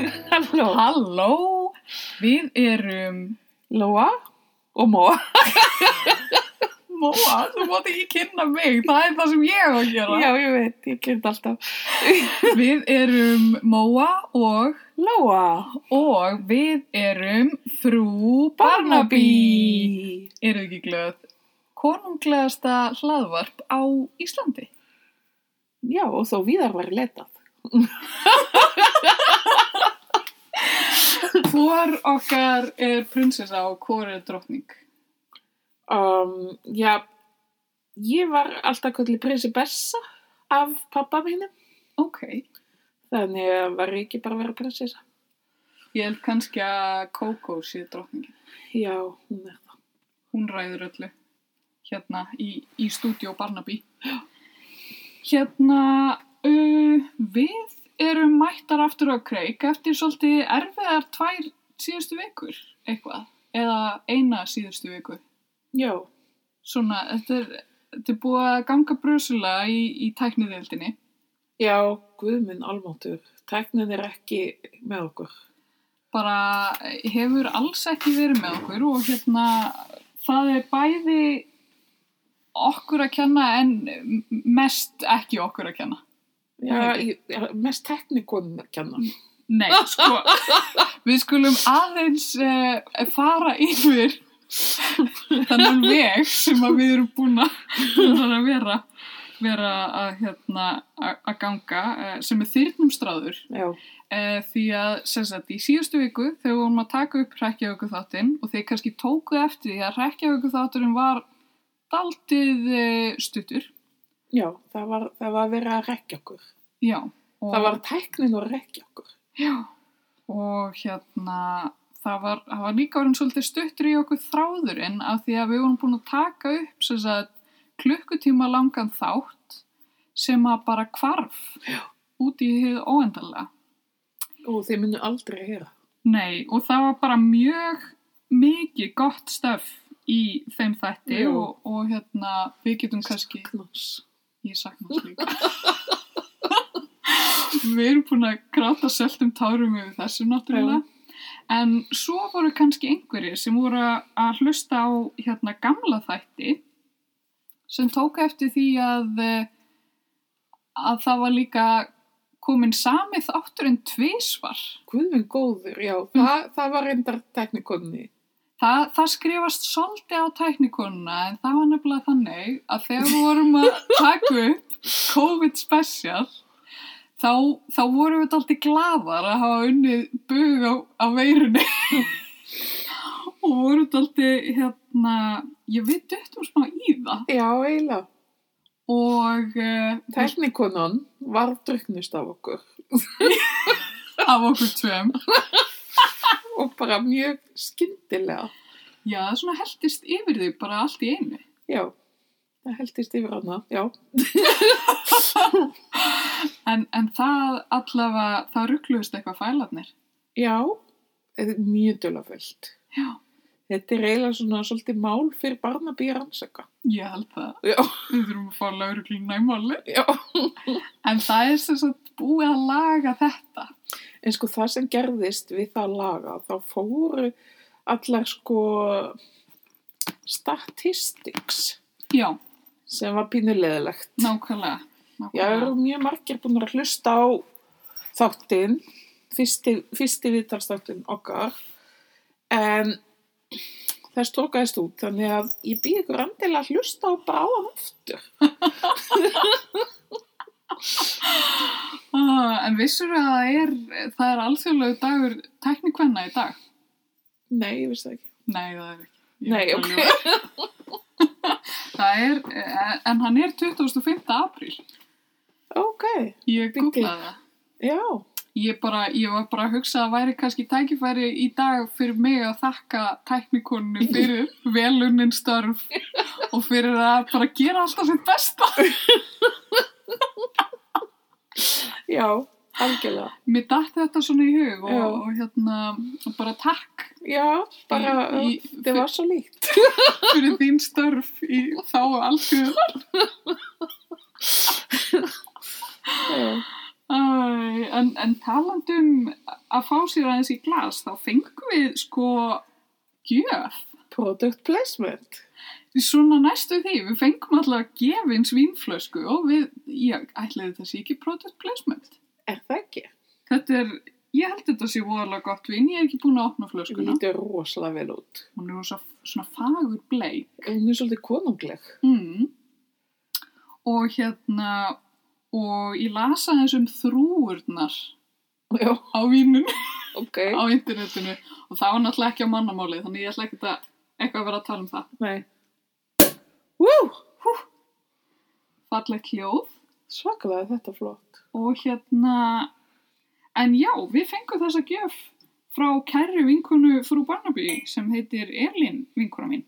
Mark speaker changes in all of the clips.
Speaker 1: Halló.
Speaker 2: Halló, við erum
Speaker 1: Lóa og Móa.
Speaker 2: Móa, þú mátt ekki kynna mig, það er það sem ég er að gera.
Speaker 1: Já, ég veit, ég glemt alltaf.
Speaker 2: Við erum Móa og,
Speaker 1: Lóa.
Speaker 2: og við erum frú Barnaby. Eru ekki glöð? Konunglegasta hlaðvarp á Íslandi.
Speaker 1: Já, og þó viðar var letað.
Speaker 2: Hvor okkar er prinsessa og hvor er drottning?
Speaker 1: Um, já, ég var alltaf kallið prinsibessa af pappa mínum.
Speaker 2: Ok,
Speaker 1: Þannig að var ég ekki bara að vera prinsessa.
Speaker 2: ég held kannski að Coco sé drottningin.
Speaker 1: Já, hún er það.
Speaker 2: hún ræður öllu hérna í, í stúdíó Barnaby hérna uh, við erum mættar aftur á kreik eftir svolítið erfiðar tvær síðustu vikur eitthvað eða eina síðustu viku
Speaker 1: Já,
Speaker 2: svona, þetta er, þetta er búið að ganga brösulega í, í tækniðildinni
Speaker 1: já, guðminn almáttur. Tæknin er ekki með okkur.
Speaker 2: bara hefur alls ekki verið með okkur og hérna það er bæði okkur að kenna en m- mest ekki okkur að kenna
Speaker 1: Já,
Speaker 2: Nei.
Speaker 1: ég, mest teknikonum að kenna.
Speaker 2: Nei, sko, við skulum aðeins uh, fara yfir þannig veg sem að við erum búin að, búnar að vera, vera að, hérna, að að ganga uh, sem er þyrnumstráður
Speaker 1: Já,
Speaker 2: uh, því að sem sagt, í síðustu viku þegar við vorum að taka upp rekjavíku þáttinn og þeir kannski tókuð eftir því að rekjavíku þátturinn var daldið uh, stuttur.
Speaker 1: já, það var, það var verið að rekja okkur.
Speaker 2: Já. og-
Speaker 1: Það var tæknin að rekja okkur.
Speaker 2: Já, og hérna, það var, það var líka orðin svolítið stuttur í okkur þráðurinn af því að við vorum búin að taka upp sem sagt, klukkutíma langan þátt sem að bara kvarf Já. út í hið óendalega.
Speaker 1: Og þeir munu aldrei að heyra.
Speaker 2: Nei, og það var bara mjög mikið gott stöf í þeim þætti
Speaker 1: Jú.
Speaker 2: og, og hérna, við getum kannski...
Speaker 1: Knás.
Speaker 2: Ég sakna hans líka. við erum búin að gráta seltum tárum yfir þessu náttúrulega. En svo voru kannski einhverjir sem voru að hlusta á hérna gamla þætti sem tóka eftir því að, eh, að það var líka komin samið átturinn tvísvar.
Speaker 1: Guðminn góður, já, það, það var reyndar teknikonni.
Speaker 2: Þa, það skrifast svolítið á tæknikonuna en það var nefnilega þannig að þegar við vorum að taka upp COVID special þá, þá vorum við alltaf gladar að hafa unnið bug á, á veirunni og vorum alltaf hérna, ég við döttum smá í það
Speaker 1: Já, eiginlega.
Speaker 2: og uh,
Speaker 1: Teknikonan var druknust af okkur
Speaker 2: af okkur tveim
Speaker 1: og bara mjög skyndilega.
Speaker 2: já, það svona heldist yfir þig bara allt í einu
Speaker 1: Já, það heldist yfir hana, já.
Speaker 2: en, en það allavega, það ruggluðist eitthvað fælarnir
Speaker 1: Já, þetta er mjög dölaföld.
Speaker 2: já,
Speaker 1: Þetta er eiginlega svona svolítið mál fyrir barnabíi rannsaka.
Speaker 2: ég held það
Speaker 1: Já,
Speaker 2: Við þurfum að fá laurugluna í máli.
Speaker 1: já.
Speaker 2: En það er sem sagt búið að laga þetta.
Speaker 1: En sko það sem gerðist við það laga, þá fóru allar sko statistics
Speaker 2: Já,
Speaker 1: sem var pínulegilegt.
Speaker 2: nákvæmlega.
Speaker 1: Já, það eru mjög margir búin að hlusta á þáttinn, fyrsti, fyrsti viðtalsþáttinn okkar, en það stókaðist út, þannig að ég býð ykkur andilega að hlusta á bráðan aftur.
Speaker 2: Ah, en vissur að það er, það er alþjóðlegu dagur teknikvenna í dag?
Speaker 1: Nei, ég vissi það ekki.
Speaker 2: Nei, það er ekki.
Speaker 1: Nei,
Speaker 2: er
Speaker 1: ok.
Speaker 2: bara að ljúga. það er, eh, en hann er 25. apríl.
Speaker 1: Ok,
Speaker 2: Ég
Speaker 1: Byggi.
Speaker 2: googlaði það.
Speaker 1: já,
Speaker 2: Ég, bara, ég var bara að hugsa að væri kannski tækifæri í dag fyrir mig að þakka tæknikonu fyrir velunnin störf og fyrir að bara gera alltaf sitt besta.
Speaker 1: já, algjörlega.
Speaker 2: Mér datt þetta svona í hug og,
Speaker 1: Já.
Speaker 2: og hérna bara takk
Speaker 1: Já, bara,
Speaker 2: í, í,
Speaker 1: það var svo líkt.
Speaker 2: fyrir þín störf í þá allsjöðunar.
Speaker 1: Já,
Speaker 2: En, en talandum að fá sér aðeins í glas, þá fengum við sko gjöf.
Speaker 1: Product placement.
Speaker 2: Svona næstu því, við fengum allavega gefins vínflösku og við, ég ætlaði þetta sé ekki product placement.
Speaker 1: Er það ekki?
Speaker 2: Þetta er, ég held þetta sé voðalega gott vinn, ég er ekki búin að opna flöskuna.
Speaker 1: Lítur rosalega vel út.
Speaker 2: Hún er rosa, svona fagur bleik.
Speaker 1: Hún er svolítið konungleg.
Speaker 2: Mm. Og hérna, og ég lasa þessum þrúurnar
Speaker 1: Já,
Speaker 2: á vínum.
Speaker 1: ok.
Speaker 2: á internetinu og það var náttúrulega ekki á mannamáli þannig ég ætla ekki að eitthvað að vera að tala um það
Speaker 1: Nei. Vú,
Speaker 2: fallegt hljóð
Speaker 1: svakalega er þetta flott.
Speaker 2: og hérna en já, við fengum þessa gjöf frá kærri vinkonu frú Barnaby sem heitir Elin vinkona mín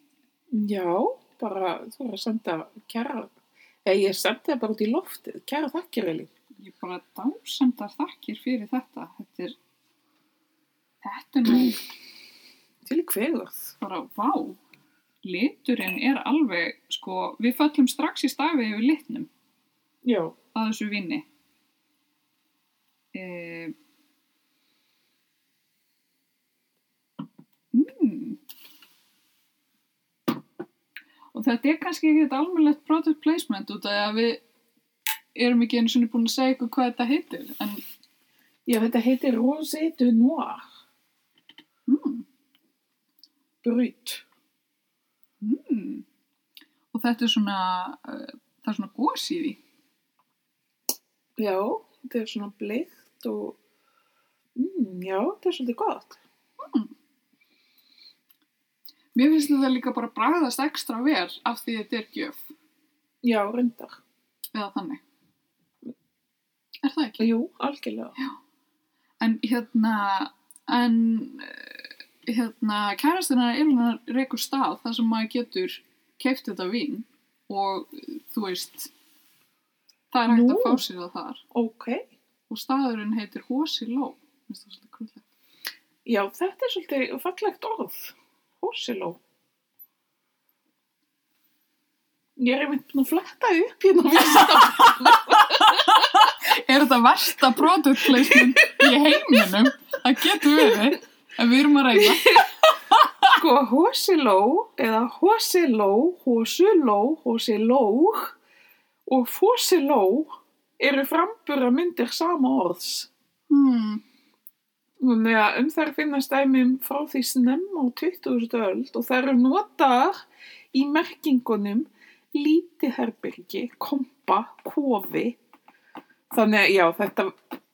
Speaker 1: Já, bara þú er að senda kæra, eða ég sendi það bara út í loftið, kæra þakkir Elín.
Speaker 2: ég bara dásamdar þakkir fyrir þetta þetta er þetta er nú
Speaker 1: Til hverð?
Speaker 2: bara vá liturinn er alveg sko, við föllum strax í stafi yfir litnum
Speaker 1: Já,
Speaker 2: að þessu vinni e mm. og þetta er kannski ekkert almennlegt product placement út af því að við erum ekki einu sinni búin að segja ykkur hvað þetta heitir en
Speaker 1: já þetta heitir Rosé de Noir.
Speaker 2: mm,
Speaker 1: Brut.
Speaker 2: mm. og þetta er svona uh, það er svona gos í því
Speaker 1: Já, þetta er svona bleikt og, mm, já, þetta er svolítið gott.
Speaker 2: mér finnst þetta líka bara bragðast ekstra vel af því þetta er gjöf
Speaker 1: Já, reyndar.
Speaker 2: eða þannig er það ekki?
Speaker 1: Jú, algjörlega.
Speaker 2: En hérna, en eh, hérna, kærastinnar Elina reykur hérna stað þar sem maður getur keift þetta vín og eh, þú veist, það er hægt
Speaker 1: Nú.
Speaker 2: að fá sér það þar
Speaker 1: Ok, og
Speaker 2: staðurinn heitir Hosi Ló. Finnst það svolítið krúllegt.
Speaker 1: já, þetta er svolítið fallegt orð. Hósiló. Ég er einmitt búin að fletta því upp hérna á vísindafélaginu.
Speaker 2: Er þetta versta product placement í heiminum? Það getur verið, en við erum að reyna.
Speaker 1: Sko, hósiló eða hósiló, hósuló, hósiló og fósiló eru frambura myndir sama orðs.
Speaker 2: Hmm.
Speaker 1: Þannig að um þær finnast dæmum frá því snemma á 20. öld og þær eru notaðar í merkingunum lítið herbyrgi, kompa, kofi. Þannig að já, þetta,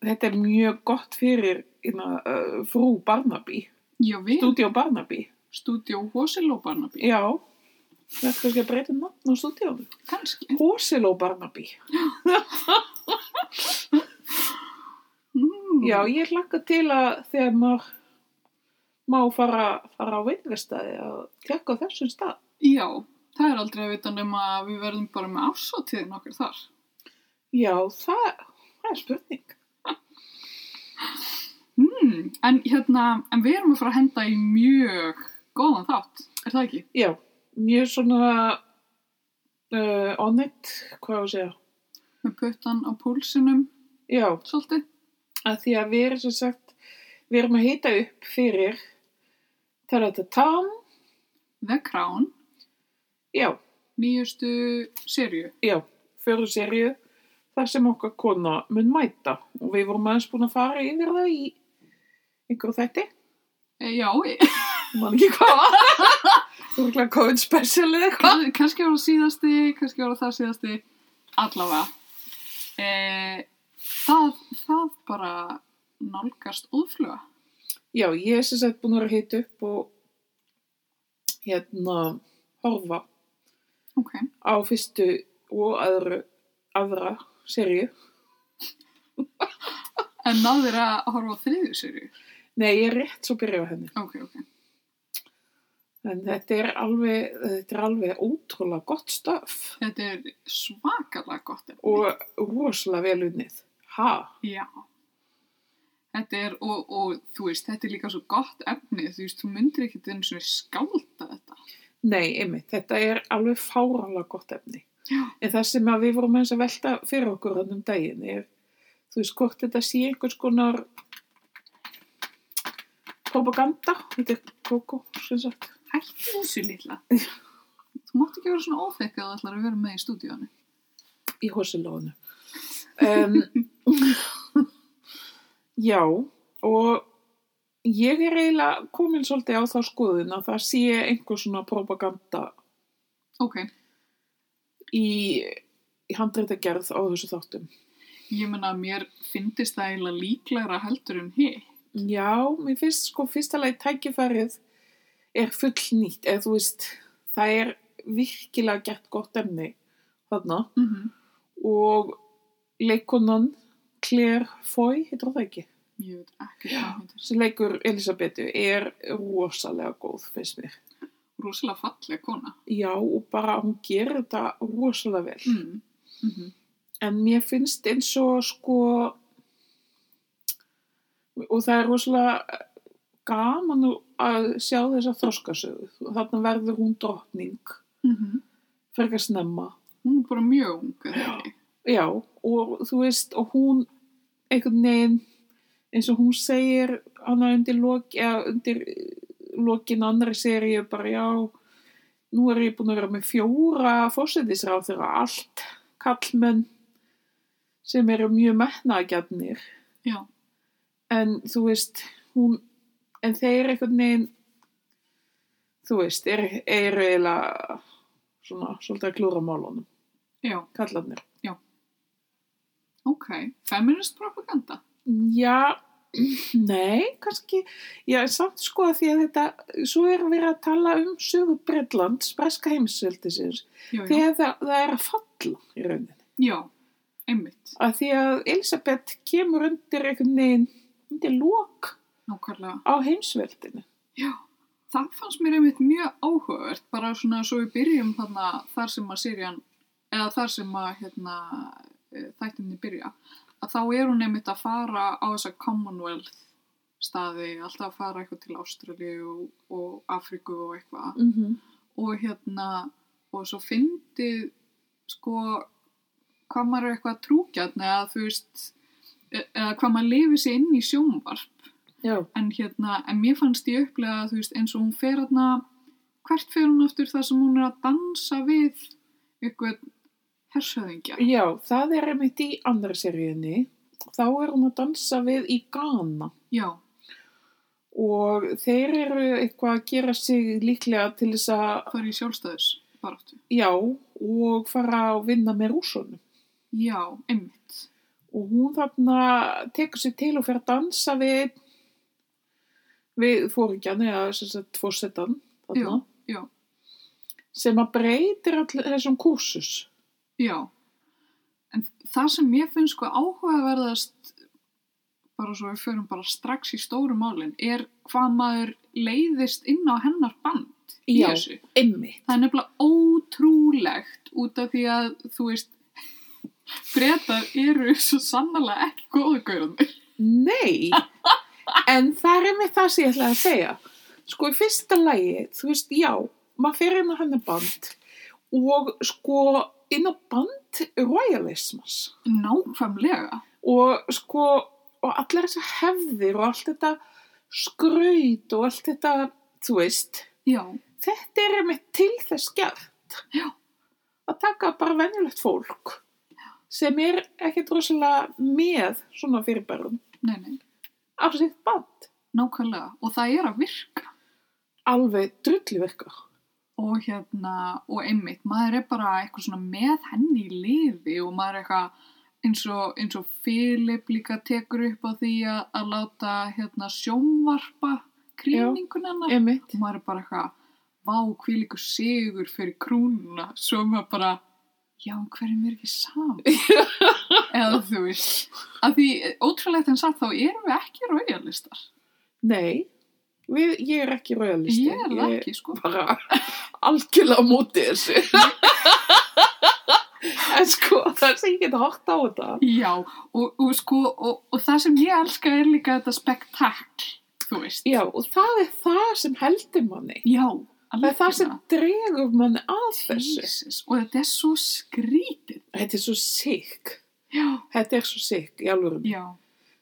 Speaker 1: þetta er mjög gott fyrir inna, uh, frú Barnaby,
Speaker 2: Já, við,
Speaker 1: stúdíó Barnaby.
Speaker 2: stúdíó Hosi Ló Barnaby,
Speaker 1: Já, þetta er kannski að breyta um nafn á stúdíónu.
Speaker 2: kannski.
Speaker 1: Hósiló Barnaby.
Speaker 2: Mm.
Speaker 1: Já, ég hlakka til að þegar maður má fara, fara á veitingastæði að tekka þessum stað.
Speaker 2: Já, það er aldrei að vita nema að við verðum bara með ásótiðin okkur þar.
Speaker 1: Já, það, það er spurning. Hmm.
Speaker 2: Mm, en hérna, en við erum að fara að henda í mjög góðan þátt, er það ekki?
Speaker 1: Já, mjög svona uh, on it, hvað á að segja.
Speaker 2: Með puttan á púlsinum,
Speaker 1: Já,
Speaker 2: svolítið.
Speaker 1: að því að við erum sem sagt, við erum að hita upp fyrir Taratatam,
Speaker 2: The Crown,
Speaker 1: já,
Speaker 2: nýjustu serju.
Speaker 1: já, fjóru serju, þar sem okkar kona mun mæta og við vorum aðeins búin að fara yfir það í einhverju þætti,
Speaker 2: E, já, e,
Speaker 1: mann ekki hvað, þú erum COVID special eða eitthvað.
Speaker 2: kann, kannski voru síðasti, kannski voru það síðasti, allavega. E, það, það bara nálgast óðfluga.
Speaker 1: Já, ég er sem sagt búin að vera að hita upp og hérna horfa
Speaker 2: Ok,
Speaker 1: á fyrstu og aðru, aðra serju.
Speaker 2: en náður að horfa á þriðju serju.
Speaker 1: Nei, ég er rétt svo byrja á henni.
Speaker 2: Ok, ok.
Speaker 1: En þetta er alveg, þetta er alveg ótrúlega gott stöf
Speaker 2: Þetta er svakalega gott. efni.
Speaker 1: og rosalega vel unnið. Ha?
Speaker 2: Já. Þetta er, og, og þú veist, þetta er líka svo gott efni, þú veist, þú myndir ekki einu svona skálda þetta.
Speaker 1: Nei, einmitt, þetta er alveg fáranlega gott efni. Já. En það sem að við vorum eins að velta fyrir okkur hann um daginn er, þú veist, hvort þetta sé einhvers konar propaganda, þetta er kókó, sem sagt.
Speaker 2: Hætti þessu lilla. Þú mátt ekki vera svona óþekk að þú ætlar að vera með í stúdíónu.
Speaker 1: í hosilónu. Um, já, og ég er eiginlega komin svolítið á þá skoðun að það sé einhver svona propaganda
Speaker 2: Ok,
Speaker 1: í, í handreitagerð á þessu þáttum.
Speaker 2: ég menna að mér fyndist það eiginlega líklegra heldur en hitt.
Speaker 1: Já, mér finnst sko fyrsta leið tækifærið er fullnýtt, eða þú veist, það er virkilega gert gott emni þarna
Speaker 2: Mm -hmm.
Speaker 1: og leikonan Claire Foy, heitir það ekki?
Speaker 2: Ég veit ekki hvað hann heitir.
Speaker 1: sem leikur Elisabetu er rosalega góð, finnst mér.
Speaker 2: Rosalega falleg kona.
Speaker 1: Já, og bara hún gerir þetta rosalega vel.
Speaker 2: Mm. Mm -hmm.
Speaker 1: En mér finnst eins og sko, og það er rosalega eh, gaman að sjá þessa þroskasögu. Þarna verður hún drottning, frekar snemma.
Speaker 2: Mhm. Hún er bara mjög ung, eða ekki?
Speaker 1: Já, og þú veist, og hún einhvern veginn, eins og hún segir hana undir, lok, eða, undir eh, lokin annari seríu bara já, nú er ég búin að vera með fjóra fórsetisráð þeirra allt kallmenn sem eru mjög metnaðgjarnir
Speaker 2: Já.
Speaker 1: en þú veist, hún en þeir einhvern veginn þú veist, eru er eiginlega svona, svolítið að klúra málunum,
Speaker 2: Já,
Speaker 1: kallarnir
Speaker 2: ok. Feminist propaganda.
Speaker 1: Já, nei, kannski, já, en samt sko að því að þetta, svo er verið að tala um sögu Bretlands, breska heimsveldisins,
Speaker 2: Já, já.
Speaker 1: þegar það, það er að falla í rauninni.
Speaker 2: Já, einmitt.
Speaker 1: Að því að Elisabeth kemur undir einhvern veginn, undir lók
Speaker 2: Nákvæmlega.
Speaker 1: á heimsveldinu.
Speaker 2: Já. Það fannst mér einmitt mjög áhugavert, bara svona svo við byrjum þarna þar sem að Sirjan, eða þar sem að hérna, eh, þættinni byrja, að þá er hún einmitt að fara á þessa Commonwealth staði, alltaf að fara eitthvað til Ástralíu og, og Afríku og eitthvað.
Speaker 1: Mm -hmm.
Speaker 2: og hérna og svo fyndið sko hvað maður er eitthvað trúgjarn eða þú veist e- eða hvað maður lifið sér inn í sjónvarp
Speaker 1: Já,
Speaker 2: en hérna, en mér fannst ég upplega þú veist eins og hún fer hérna hvert fer hún aftur þar sem hún er að dansa við eitthvað hersöðingja
Speaker 1: já, það er einmitt í andra seríunni, þá er hún að dansa við í Ghana.
Speaker 2: já,
Speaker 1: Og þeir eru eitthvað að gera sig líklega til þess að
Speaker 2: það er í sjálfstæðis baráttu,
Speaker 1: Já, og fara að vinna með rússunum.
Speaker 2: já, einmitt
Speaker 1: Og hún þarna tekur sér til og fer að dansa við, við fóringjan eða sem sagt fórsetan þarna,
Speaker 2: já,
Speaker 1: sem að breytir allir þessum kursus.
Speaker 2: Já, en það sem mér finnst sko áhugaverðast, bara svo við förum bara strax í stóru málin, er hvað maður leiðist inn á hennar band í
Speaker 1: Já.
Speaker 2: þessu.
Speaker 1: Einmitt.
Speaker 2: Það er nefnilega ótrúlegt út af því að, þú veist, bretar eru svo sannlega ekki góðu gauðanir.
Speaker 1: Nei, en það er einmitt það sem ég ætlaði að segja. Sko, í fyrsta lagi, þú veist, já, maður fer inn á hennar band og sko inn á band royalismas.
Speaker 2: Nákvæmlega.
Speaker 1: og sko og allar þessar hefðir og allt þetta skraut og allt þetta þú veist,
Speaker 2: Já,
Speaker 1: þetta er með til þess gert
Speaker 2: Já.
Speaker 1: að taka bara venjulegt fólk sem er ekkert rosalega með svona fyrirbærum
Speaker 2: nei, nei,
Speaker 1: á sitt band
Speaker 2: nákvæmlega. Og það er að virka.
Speaker 1: alveg drulliverka
Speaker 2: og hérna, og einmitt, maður er bara eitthvað svona með henni í liði og maður er eitthvað eins og, eins og Filip líka tekur upp á því að, að láta hérna sjónvarpa krýningun hennar
Speaker 1: einmitt,
Speaker 2: og maður er bara eitthvað, vá, hví líka sigur fyrir krúnuna, svo er maður bara, já, en hverjum er ekki saman? Eða þú veist, að því ótrúlegt en satt þá erum við ekki rauðjarlistar.
Speaker 1: nei við, ég er ekki royalisti
Speaker 2: Ég er það ekki, sko.
Speaker 1: bara algjörlega á móti þessu en sko það sem ég get hort á þetta
Speaker 2: Já, og, og sko, og, og það sem ég elska er líka þetta spektakl, þú veist.
Speaker 1: Já, og það er það sem heldur manni.
Speaker 2: Já,
Speaker 1: Það er það sem dregur manni að þessu.
Speaker 2: Jesus, og þetta er svo skrítið.
Speaker 1: Þetta er svo sikk.
Speaker 2: Já,
Speaker 1: Þetta er svo sikk í alvörum.
Speaker 2: já,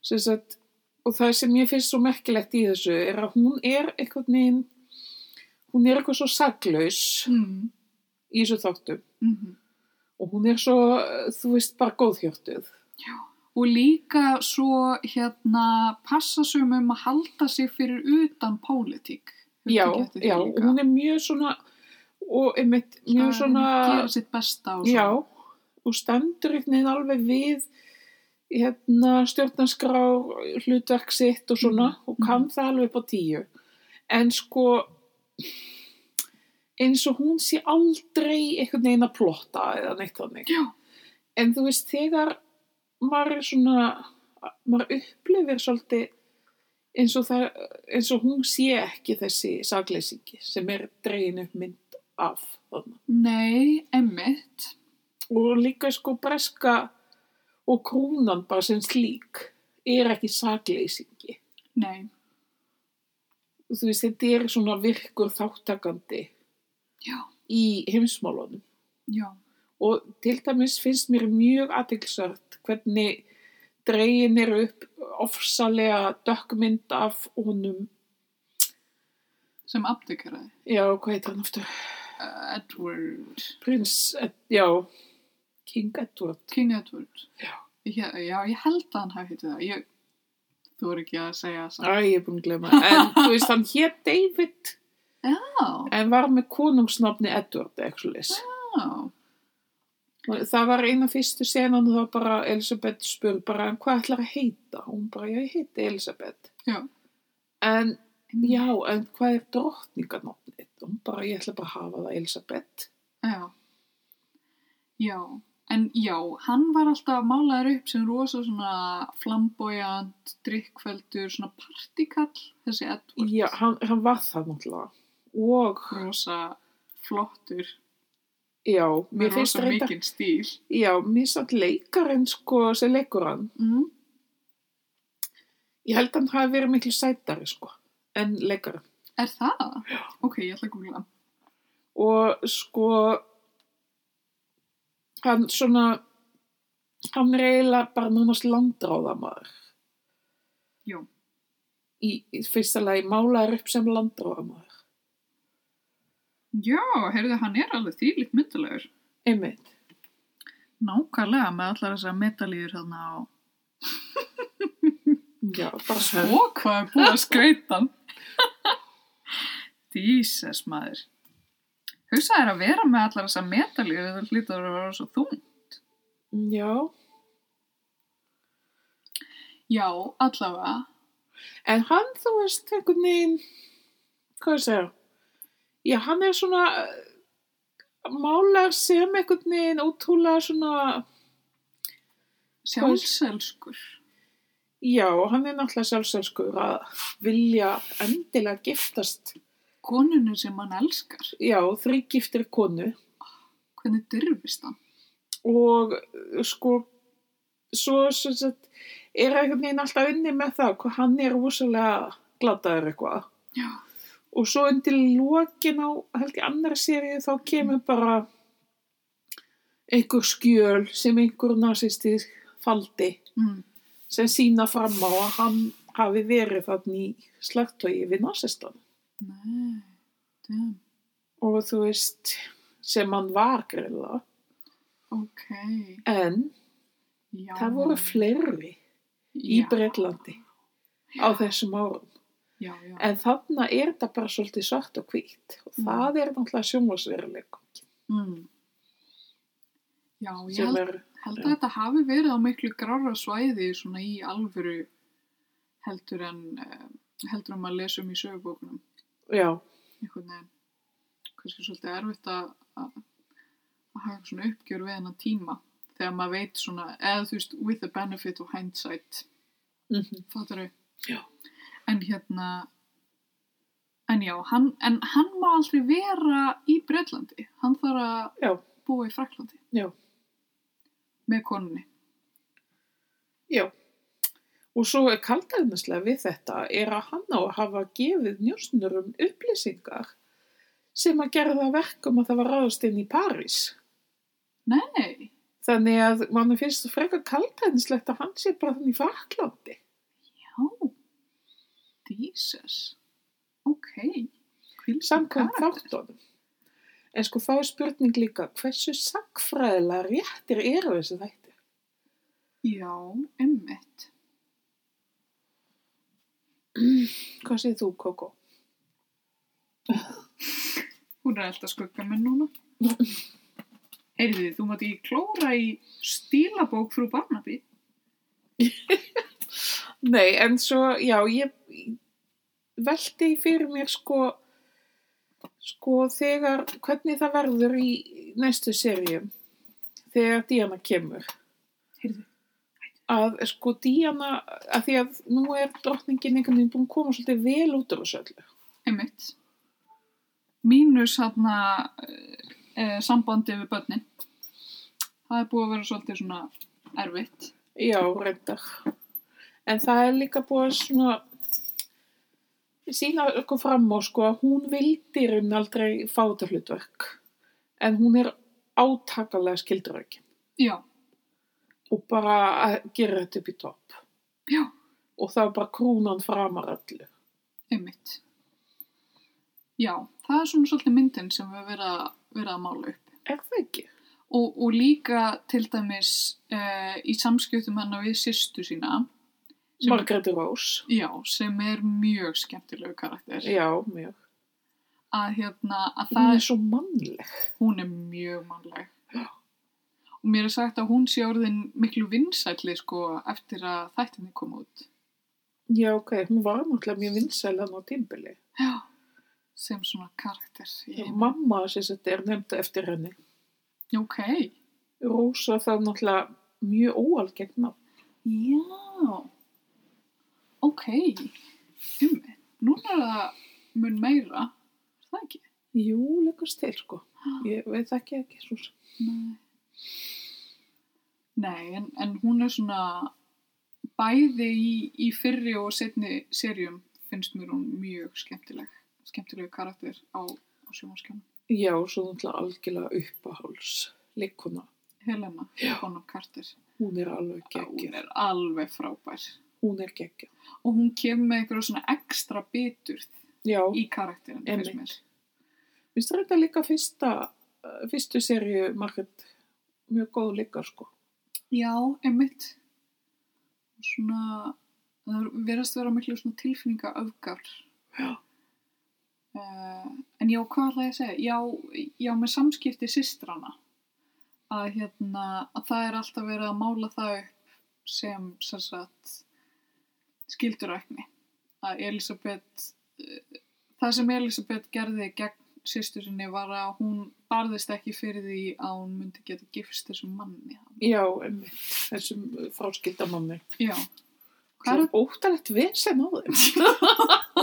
Speaker 1: Sess að og það sem ég finnst svo merkilegt í þessu er að hún er eitthvað neginn, hún er eitthvað svo saglaus
Speaker 2: Mm.
Speaker 1: í þessu þáttum
Speaker 2: Mm
Speaker 1: og hún er svo, eh, þú veist, bara góðhjörtuð.
Speaker 2: Og líka svo hérna passa sig um að halda sig fyrir utan pólitík. Hefur
Speaker 1: Já,
Speaker 2: þú gert því
Speaker 1: já, og
Speaker 2: líka?
Speaker 1: hún er mjög svona, og einmitt,
Speaker 2: Það
Speaker 1: mjög
Speaker 2: er
Speaker 1: svona,
Speaker 2: að Gera sitt besta og
Speaker 1: já,
Speaker 2: svona.
Speaker 1: og stendur einhvern veginn alveg við hérna stjórnarskrá hlutverk sitt og svona
Speaker 2: Mhm,
Speaker 1: og kann það alveg upp á tíu. En sko, eins og hún sé aldrei einhvern veginn að plotta eða neitt þannig.
Speaker 2: Já.
Speaker 1: En þú veist, þegar maður er svona, maður upplifir svolítið eins og, það, eins og hún sé ekki þessi sagleysingi sem er dregin upp mynd af þarna.
Speaker 2: Nei, emmitt.
Speaker 1: Og líka sko breska og krúnan bara sem slík er ekki sagleysingi.
Speaker 2: Nei.
Speaker 1: Þú veist, þetta er svona virkur þáttakandi
Speaker 2: Já,
Speaker 1: í heimsmálunum.
Speaker 2: já.
Speaker 1: Og til dæmis finnst mér mjög aðeinsart hvernig dregin eru upp ofsalega dökkmynd af honum,
Speaker 2: Sem abdikaraði.
Speaker 1: já, hvað heitir hann aftur?
Speaker 2: Uh, Edward.
Speaker 1: Prins, Ed- já, King Edward.
Speaker 2: King Edward.
Speaker 1: Já.
Speaker 2: Já, já ég held að hann hafi hittu það. Ég, þú er ekki að segja það.
Speaker 1: Æ, ég er búin að glemma. En þú veist, hann hér David
Speaker 2: Já,
Speaker 1: en var með konungsnafni Edward, actually.
Speaker 2: já.
Speaker 1: Það var eina fyrstu senan og þá bara Elisabeth spurði bara, en hvað ætlar að heita? Og Hún bara, já, ég heiti Elisabeth.
Speaker 2: Já.
Speaker 1: En, já, en hvað er drottninganafnið? Og Hún bara, ég ætla bara að hafa það Elisabeth.
Speaker 2: Já. Já, en já, hann var alltaf málaður upp sem rosa svona flamboyant, drikkveldur, svona partikall, þessi Edward.
Speaker 1: Já, hann, hann var það náttúrulega. Og,
Speaker 2: Rosa flottur,
Speaker 1: já, mér
Speaker 2: með
Speaker 1: finnst
Speaker 2: rosa
Speaker 1: reynda,
Speaker 2: mikinn stíl.
Speaker 1: já, mér satt leikarinn, sko, sem leikur hann.
Speaker 2: Mm.
Speaker 1: Ég held að hann hafi verið miklu sætari, sko, en leikari.
Speaker 2: Er það? Já. Ok, ég ætla að googla.
Speaker 1: og sko hann svona hann er eiginlega bara nánast landráðamaður
Speaker 2: Jú.
Speaker 1: í, í fyrsta lagi málaður upp sem landráðamaður
Speaker 2: Já, heyrðu, hann er alveg þýlikt myndalegur.
Speaker 1: einmitt
Speaker 2: Nákvæmlega með allar þessar metalíður hérna á.
Speaker 1: já, bara svo
Speaker 2: Ó, hvað er búið að skreita hann? Jesus, maður. Hugsa þér að vera með allar þessa metalíu það hlýtur að vera svo þung.
Speaker 1: já.
Speaker 2: Já, allavega.
Speaker 1: en hann þú veist einhvern veginn hvað ég segja já, hann er svona málaður sem einhvern veginn ótrúlega svona
Speaker 2: Sjálfselskur.
Speaker 1: Já, hann er náttúrulega sjálfselskur að vilja endilega giftast,
Speaker 2: Konunni sem hann elskar.
Speaker 1: já, þrýgiftir konu
Speaker 2: Hvernig dyrfist hann?
Speaker 1: og uh, sko, svo sem sagt, er einhvern veginn alltaf inni með það hvað hann er úslega gladaður eitthvað.
Speaker 2: Já.
Speaker 1: Og svo undir lokin á, held ég, annari seríu þá kemur bara einhver skjöl sem einhver nazistið faldi
Speaker 2: Mm.
Speaker 1: sem sína fram á að hann hafi verið þannig í slagtögi við nazistan.
Speaker 2: Nei, damn.
Speaker 1: og þú veist sem hann var grilla
Speaker 2: Ok.
Speaker 1: en
Speaker 2: Já.
Speaker 1: það voru fleiri í
Speaker 2: Já,
Speaker 1: Breitlandi á þessum árum
Speaker 2: Já, já.
Speaker 1: en þarna er þetta bara svolítið svart og hvítt og
Speaker 2: Mm.
Speaker 1: það er náttúrulega sjónvarsveruleik
Speaker 2: Mm. Já, ég held
Speaker 1: sem er
Speaker 2: held að
Speaker 1: Já.
Speaker 2: þetta hafi verið á miklu grára svæði svona í alvöru heldur en uh, heldur en maður lesum í sögubókunum
Speaker 1: já,
Speaker 2: einhvern veginn kannski svolítið erfitt að að að hafa svona uppgjör við hennar tíma þegar maður veit svona eða þú veist with the benefit of hindsight
Speaker 1: mm
Speaker 2: fattar
Speaker 1: Já.
Speaker 2: en hérna en já, hann, en hann má aldrei vera í Breitlandi hann þarf að
Speaker 1: já,
Speaker 2: búa í Fraklandi
Speaker 1: Já.
Speaker 2: með konunni
Speaker 1: já og svo er kaldæðnislega við þetta er að hann á að hafa gefið njósnurum upplýsingar sem að gera það verkum að það var ráðast inn í París
Speaker 2: nei
Speaker 1: Þannig að mann finnst frekar kaltæðinslegt að hann sé bara þannig í Fraklandi.
Speaker 2: Já, Jesus. Ok. Hvílíkur
Speaker 1: samkvæmt
Speaker 2: karakter.
Speaker 1: þáttunum. En sko þá er spurning líka, hversu sakfræðilega réttir eru þessi þættir?
Speaker 2: Já, emmitt.
Speaker 1: Hvað segir þú, Kókó?
Speaker 2: Hún er alltaf skugga minn núna. Heyrðu, þú mátt ekki klóra í stílabók frú Barnaby.
Speaker 1: Nei, en svo, já, ég velti fyrir mér sko, sko þegar, hvernig það verður í næstu seríum þegar Díana kemur.
Speaker 2: Heyrðu,
Speaker 1: Að sko Díana, að því að nú er drottningin einhvern veginn búin að koma svolítið vel út úr þessu öllu.
Speaker 2: emmitt. Mínus hérna eh, sambandi við börnin. Það er búið að vera svolítið svona erfitt.
Speaker 1: Já, reyndar. En það er líka búið að svona sína okkur fram á sko að hún vildi í raun aldrei fá þetta hlutverk. En hún er átakalega skilduröki
Speaker 2: Já,
Speaker 1: og bara að gera þetta upp í topp.
Speaker 2: já,
Speaker 1: Og það er bara krúnan framar öllu.
Speaker 2: emmitt. Já, það er svona svolítið myndin sem við verða verið að mála upp.
Speaker 1: Er það ekki?
Speaker 2: Og, og líka til dæmis uh, í samskiptum hennar við sýstu sína, Sem-
Speaker 1: Margréti Rós.
Speaker 2: já, sem er mjög skemmtilegu karakter.
Speaker 1: Já, mjög.
Speaker 2: Að hérna, að
Speaker 1: Hún
Speaker 2: það,
Speaker 1: er svo mannleg.
Speaker 2: hún er mjög mannleg.
Speaker 1: Já.
Speaker 2: Og mér er sagt að hún sé orðin miklu vinsælli sko eftir að þættinni kom út.
Speaker 1: Já, ok. Hún var náttúrulega mjög vinsæl hann á tímbili.
Speaker 2: Já. Sem svona karakter.
Speaker 1: Já.
Speaker 2: í heiminum.
Speaker 1: Mamma sem þetta er nefnda eftir henni.
Speaker 2: Ok.
Speaker 1: Rósa það er náttúrulega mjög óalgengt nafn.
Speaker 2: Já. Ok. Ummi. Núna er það mun meira. Er það ekki?
Speaker 1: Jú, leggast til, sko. Ég veit ekki ekki, svo sem.
Speaker 2: Nei, Nei en, en hún er svona bæði í, í fyrri og setni serjum finnst mér hún mjög skemmtileg skemmtilegu karakter á, á sjónvarskjánum.
Speaker 1: Já, svo náttúrulega algjörlega uppaháls. Likuna,
Speaker 2: Helena, Bonham Carter,
Speaker 1: hún er alveg
Speaker 2: hún
Speaker 1: geggja.
Speaker 2: er alveg frábær
Speaker 1: Hún er geggja.
Speaker 2: og hún kemur með einhverja svona ekstra bitur
Speaker 1: Já,
Speaker 2: í karakterin finnst mér.
Speaker 1: Einmitt. minnst það þetta líka fyrsta, eh, fyrstu serju margir mjög góð líka, sko.
Speaker 2: Já, einmitt svona það verðast vera miklu svona tilfinninga öfgar
Speaker 1: Já.
Speaker 2: Eh, en já, hvað ætla ég að segja? Já, já með samskipti systrana að hérna að það er alltaf verið að mála það upp sem sem sagt skildurækni að Elisabeth eh, það sem Elisabeth gerði gegn systur sinni var að hún barðist ekki fyrir því að hún myndi geta gifst þessum manni
Speaker 1: Já, einmitt, þessum eh, fráskilda manni.
Speaker 2: Já. Hvað
Speaker 1: Hvað
Speaker 2: er
Speaker 1: er óttalegt vesen á þeim?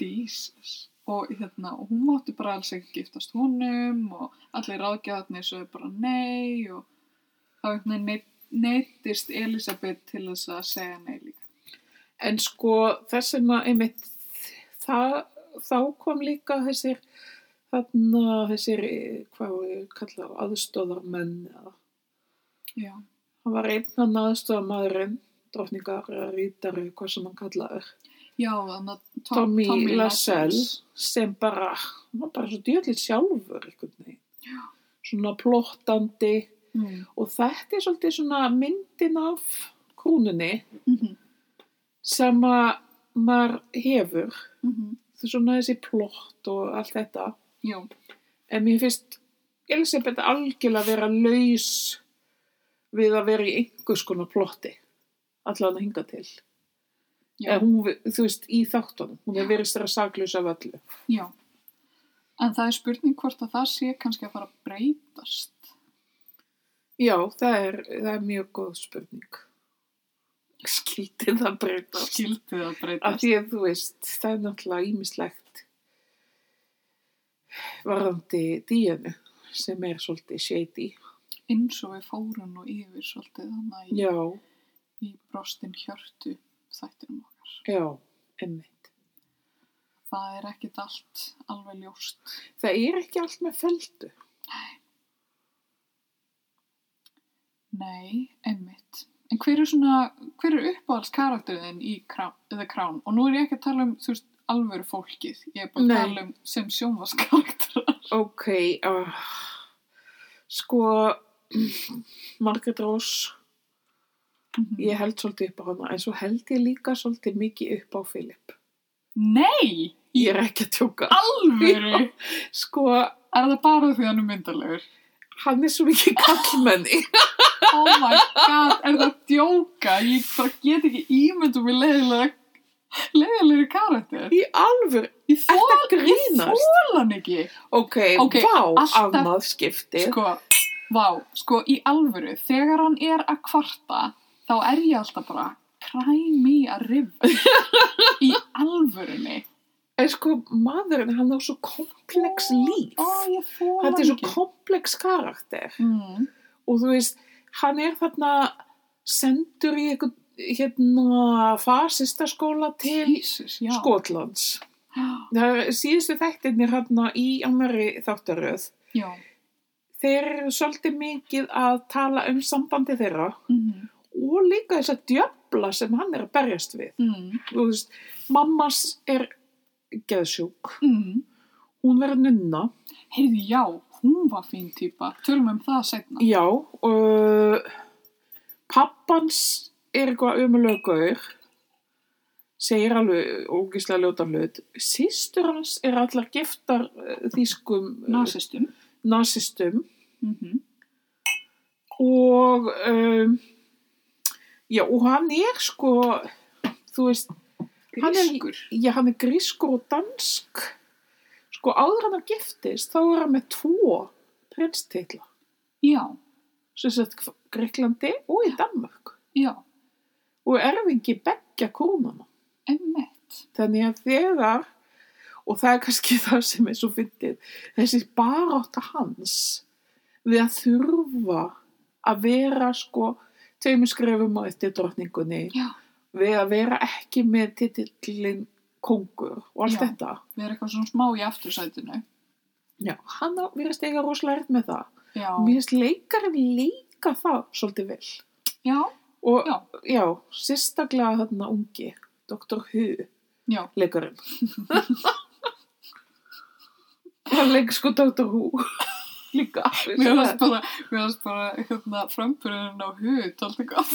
Speaker 2: Jesus? Og hérna, og hún mátti bara alls ekki giftast honum og allir ráðgjáðarnir svo bara nei og þá neitt, neittist Elisabeth til þess að segja nei líka.
Speaker 1: En sko þess vegna einmitt það, þá kom líka þessir þarna þessir eh, hvað á ég að kalla þá, aðstóðarmenn eða.
Speaker 2: Já,
Speaker 1: hann var einn hann aðstóðarmaðurinn drottningar eða rítari hvað sem hann kallaður
Speaker 2: já þannig að Tom-
Speaker 1: Tommy,
Speaker 2: Tommy
Speaker 1: Lassell
Speaker 2: Lassels.
Speaker 1: sem bara hann var bara svo djöðlið sjálfur einhvern veginn svona plottandi
Speaker 2: Mm.
Speaker 1: og þetta er svolítið svona myndin af krúnunni
Speaker 2: Mhm,
Speaker 1: sem að maður hefur
Speaker 2: mhm.
Speaker 1: það er svona þessi plott og allt þetta
Speaker 2: Já,
Speaker 1: en mér finnst Elisabeth algjörlega vera laus við að vera í einhvers konar plotti allan að hinga til
Speaker 2: já.
Speaker 1: Eða hún, þú veist, í þáttunum hún er verið stærra saklaus af öllu
Speaker 2: Já, en það er spurning hvort að það sé kannski að fara að breytast.
Speaker 1: já, það er, það er mjög góð spurning skildi það breytast
Speaker 2: Skildið að
Speaker 1: af
Speaker 2: breytast.
Speaker 1: því að þú veist, það er náttúrulega ímislegt varðandi díjanu sem er svolítið shady
Speaker 2: Eins og við fórum nú yfir svolítið þannig í,
Speaker 1: já,
Speaker 2: í brostin hjörtu þættinum okkar.
Speaker 1: já, emmi
Speaker 2: Það er ekkit allt alveg ljóst.
Speaker 1: það er ekki allt með feldu
Speaker 2: Nei, einmitt. En hver er svona, hver er uppáhalds karakterin í Crown, The Crown? Og nú er ég ekki að tala um, þú veist, alvöru fólkið. Ég er bara að
Speaker 1: Nei.
Speaker 2: tala um sem sjónvarskarakter.
Speaker 1: Ok, uh, sko, Margaret Rose, ég held svolítið upp á hana, en svo held ég líka svolítið mikið upp á Philip.
Speaker 2: Nei!
Speaker 1: Ég er ekki að tjóka.
Speaker 2: Alvöru!
Speaker 1: Sko,
Speaker 2: Er það bara því hann er myndalegur?
Speaker 1: hann er svo mikið kallmenni.
Speaker 2: Oh my god, er það að djóka? Ég bara get ekki ímyndum í leiðilega, leiðilegri karakter.
Speaker 1: Í alvöru,
Speaker 2: Ég
Speaker 1: ert
Speaker 2: þól
Speaker 1: að grínast?
Speaker 2: hann ekki.
Speaker 1: Ok,
Speaker 2: Ok,
Speaker 1: vá,
Speaker 2: alltaf-
Speaker 1: annað skiptið.
Speaker 2: Sko, vá, sko í alvöru, þegar hann er að kvarta, þá er ég alltaf bara, cry me a river. í alvörunni.
Speaker 1: En sko, maðurinn, hann á svo komplex líf.
Speaker 2: Ó, ég þól hann
Speaker 1: Þetta er
Speaker 2: ekki.
Speaker 1: svo komplex karakter.
Speaker 2: Mm,
Speaker 1: og þú veist, hann er þarna sendur í eitthvað hérna fasistaskóla til sko.
Speaker 2: Jesus, já.
Speaker 1: Skotlands. Það er síðustu þættirnir hérna í annari þáttaröð.
Speaker 2: Já.
Speaker 1: Þeir eru svolítið mikið að tala um sambandi þeirra
Speaker 2: Mm,
Speaker 1: og líka þess að djöfla sem hann er að berjast við.
Speaker 2: mm,
Speaker 1: Þú veist, mammas er geðsjúk,
Speaker 2: mm.
Speaker 1: hún verður nunna,
Speaker 2: Heyrðu, já, hún var fín típa. Tölum um það setna.
Speaker 1: já, og uh, pappans er eitthvað umlögur, segir alveg ógislega ljóta hlut, sýstur hans er allar giftar eh, þýskum eh,
Speaker 2: Nasistum.
Speaker 1: nasistum
Speaker 2: Mm
Speaker 1: og um, já, og hann er sko, þú veist, Hann er- Já, hann er grískur og dansk. Sko, áður en hann giftist, þá er hann með tvo prinstitla.
Speaker 2: Já,
Speaker 1: Svo sett Greiklandi og í Danmark.
Speaker 2: já,
Speaker 1: Og erfingi beggja krúnana.
Speaker 2: emmitt.
Speaker 1: Þannig að þegar, og það er kannski það sem er svo fyndið, þessi barátta hans við að þurfa að vera sko tveimur skrefum á eftir drottningunni,
Speaker 2: Já,
Speaker 1: við að vera ekki með titillin kongur og allt
Speaker 2: Já.
Speaker 1: þetta.
Speaker 2: við erum eitthvað svona smá í aftursætinu.
Speaker 1: Já, hann á, mér finnst eiga rosalega erfitt með það.
Speaker 2: Já,
Speaker 1: Mér finnst leikarinn líka það svolítið vel.
Speaker 2: já,
Speaker 1: Og já,
Speaker 2: já,
Speaker 1: sérstaklega þarna ungi, Dr. Hu,
Speaker 2: já,
Speaker 1: leikarinn. hann leik sko Dr. Hu líka.
Speaker 2: mér varst bara, mér varst bara, hérna, framburðurinn á hug, tóltu gott.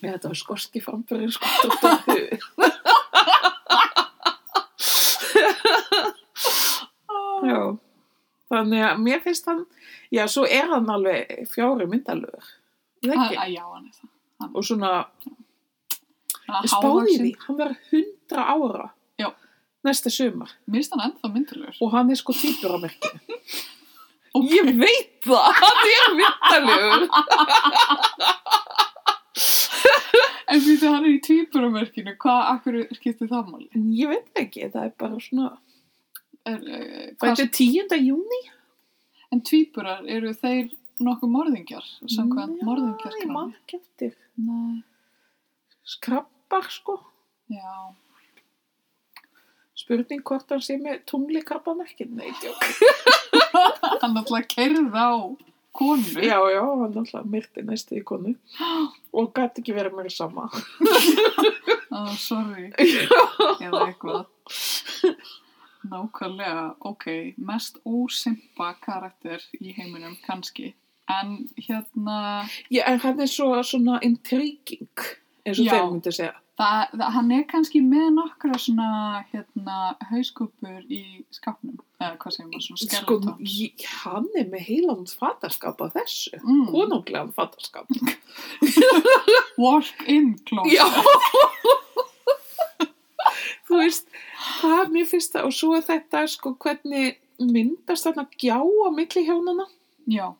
Speaker 1: Nei, þetta var skorski framburinn sko Dr. Hu. já, þannig að mér finnst hann, já, svo er hann alveg fjári myndalögur. Það
Speaker 2: Að,
Speaker 1: ekki?
Speaker 2: að já, hann er það.
Speaker 1: og svona
Speaker 2: Hann er
Speaker 1: spáði
Speaker 2: hávaxinn.
Speaker 1: því, hann var 100 ára
Speaker 2: Já.
Speaker 1: næsta sumar
Speaker 2: Mér finnst hann ennþá myndalur.
Speaker 1: og hann er sko týpur á merkinu
Speaker 2: Ok.
Speaker 1: ég veit það, hann er vittalegur
Speaker 2: En fyrir hann er í tvíburumverkinu, hvað, akkur skiptir það máli?
Speaker 1: ég veit það ekki, það er bara svona
Speaker 2: Er, eh, hvað-
Speaker 1: þetta er 10. júni
Speaker 2: En tvíburar, eru þeir nokkuð morðingjar, samkvæmt
Speaker 1: ég man
Speaker 2: morðingjarkranni?
Speaker 1: ekki eftir
Speaker 2: Nei,
Speaker 1: skrabbar sko
Speaker 2: já.
Speaker 1: spurning hvort hann sé með tunglikrabba merkinu nei, djók
Speaker 2: Hann alltaf kerði á konu.
Speaker 1: já, já, hann alltaf myrti næstu í konu og gæti ekki verið mér sama
Speaker 2: Ah, sorry. Eða eitthvað. Nákvæmlega, ok, mest ósimpa karakter í heiminum, kannski. En hérna,
Speaker 1: já, en hann er svo svona intriguing eins og
Speaker 2: Já.
Speaker 1: þeir myndi segja
Speaker 2: það, það, hann er kannski með nokkra svona, hérna, hauskúpur í skapnum. Eða hvað segir maður, svona
Speaker 1: sko,
Speaker 2: skeleton.
Speaker 1: ég- hann er með heilan fatarskap á þessu
Speaker 2: Mm,
Speaker 1: konunglegan fatarskap
Speaker 2: walk in close.
Speaker 1: já þú veist það er mér fyrst það og svo er þetta sko hvernig myndast þarna gjá á milli hjónana
Speaker 2: Já.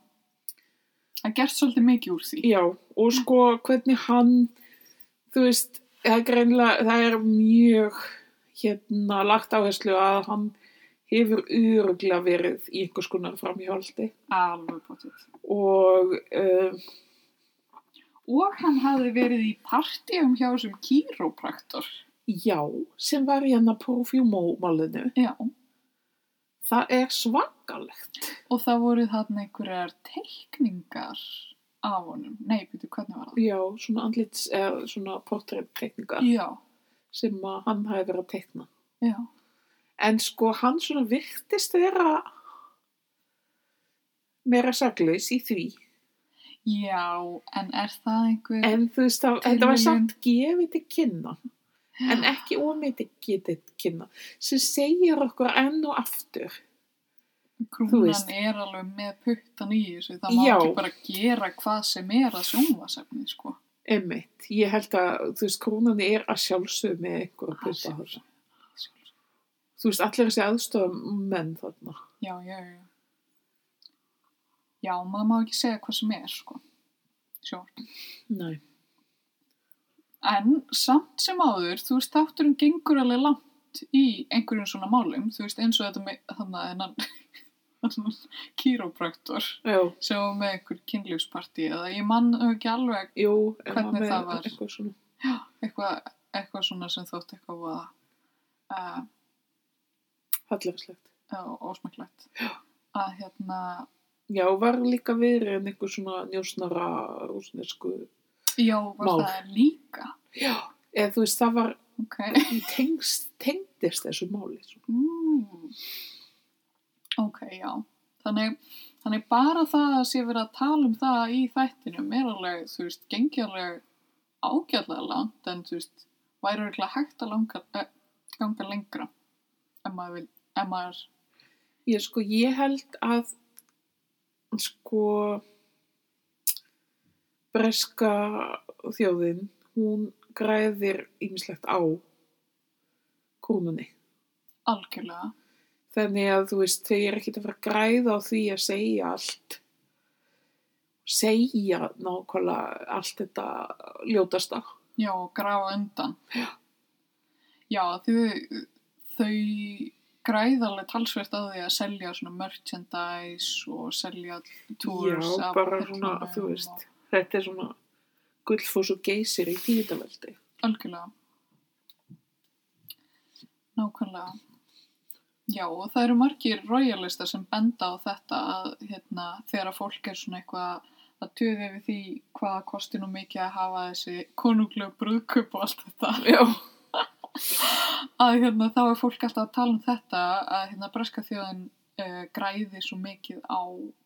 Speaker 2: Það gerst svolítið mikið úr því.
Speaker 1: já og sko hvernig hann þú veist það er greinlega það er mjög hérna lagt áherslu að hann hefur öruglega verið í einhvers konar framhjáldi
Speaker 2: Alveg bóttið.
Speaker 1: og um,
Speaker 2: Og hann hafði verið í partíum hjá þessum kýrópraktor.
Speaker 1: já sem var hérna profjúmómálinu
Speaker 2: Já.
Speaker 1: Það er svakalegt.
Speaker 2: Og það voru þarna einhverjar teikningar af honum. Nei, býtu, hvernig var það?
Speaker 1: Já, svona andlits, eða svona portreitteikningar
Speaker 2: Já,
Speaker 1: sem að hann hafi verið að teikna.
Speaker 2: já.
Speaker 1: En sko, hann svona virtist vera meira saglaus í því.
Speaker 2: Já, en er það einhver...
Speaker 1: En þú veist, það, þetta var samt gefið til kynna, en ekki ómyndi getið til kynna, sem segir okkur enn og aftur. þú veist.
Speaker 2: Krúnan er alveg með puttan í þessu, það má
Speaker 1: Já.
Speaker 2: ekki bara gera hvað sem er að sjónvasefni, sko.
Speaker 1: Einmitt, ég held að, þú veist, krónan er að sjálfsögðu með einhverja putahár. Þú veist, allir þessi aðstofum menn þarna.
Speaker 2: Já, já, já. Já, maður má ekki segja hvað sem er, sko. Sjór.
Speaker 1: Nei.
Speaker 2: En samt sem áður, þú veist, þátturinn gengur alveg langt í einhverjum svona málum, þú veist, eins og þetta með, þannig að hennan, hennan kýrópraktor
Speaker 1: Já,
Speaker 2: sem var með einhver kynlífsparti eða ég mann ekki alveg
Speaker 1: jú, en
Speaker 2: Hvernig
Speaker 1: hann er
Speaker 2: það var?
Speaker 1: Eitthvað svona.
Speaker 2: eitthvað, eitthvað svona sem þótt eitthvað voða uh,
Speaker 1: Hallarslegt.
Speaker 2: og ósmæklegt að hérna,
Speaker 1: Já, var líka verið en einhver svona njósnara rúsnesku.
Speaker 2: já, var
Speaker 1: Mál.
Speaker 2: það líka
Speaker 1: Já. Eða þú veist, það var,
Speaker 2: ok
Speaker 1: tengst, tengdist þessu máli. Svona.
Speaker 2: mm. ok, já þannig, þannig bara það að sé verið að tala um það í þættinum er alveg, þú veist, gengi alveg ágæðlega langt en þú veist, væri örgulega hægt að langa, eh, ganga lengra ef maður vil, ef maður
Speaker 1: Ég sko, ég held að, sko, breska þjóðin, hún græðir ýmislegt á krúnunni.
Speaker 2: algjörlega
Speaker 1: Þannig að þú veist, þau eru ekkert að fara að græða á því að segja allt, segja nákvæmlega allt þetta ljótasta.
Speaker 2: Já, og grafa undan. Já, þau, þau græðarlega talsvert að því að selja svona merchandise og selja tours.
Speaker 1: Já,
Speaker 2: af
Speaker 1: bara svona,
Speaker 2: hillunum
Speaker 1: þú veist, þetta er svona gullfós og geysir í tíðaveldi.
Speaker 2: og- Algjörlega. Nákvæmlega. Já, og það eru margir royalistar sem benda á þetta að hérna, þegar að fólk er svona eitthvað að töði við því hvað kosti nú mikið að hafa þessi konunglega brúðköp og allt þetta.
Speaker 1: Já.
Speaker 2: að hérna, þá er fólk alltaf að tala um þetta að hérna, breska þjóðin uh, græði svo mikið á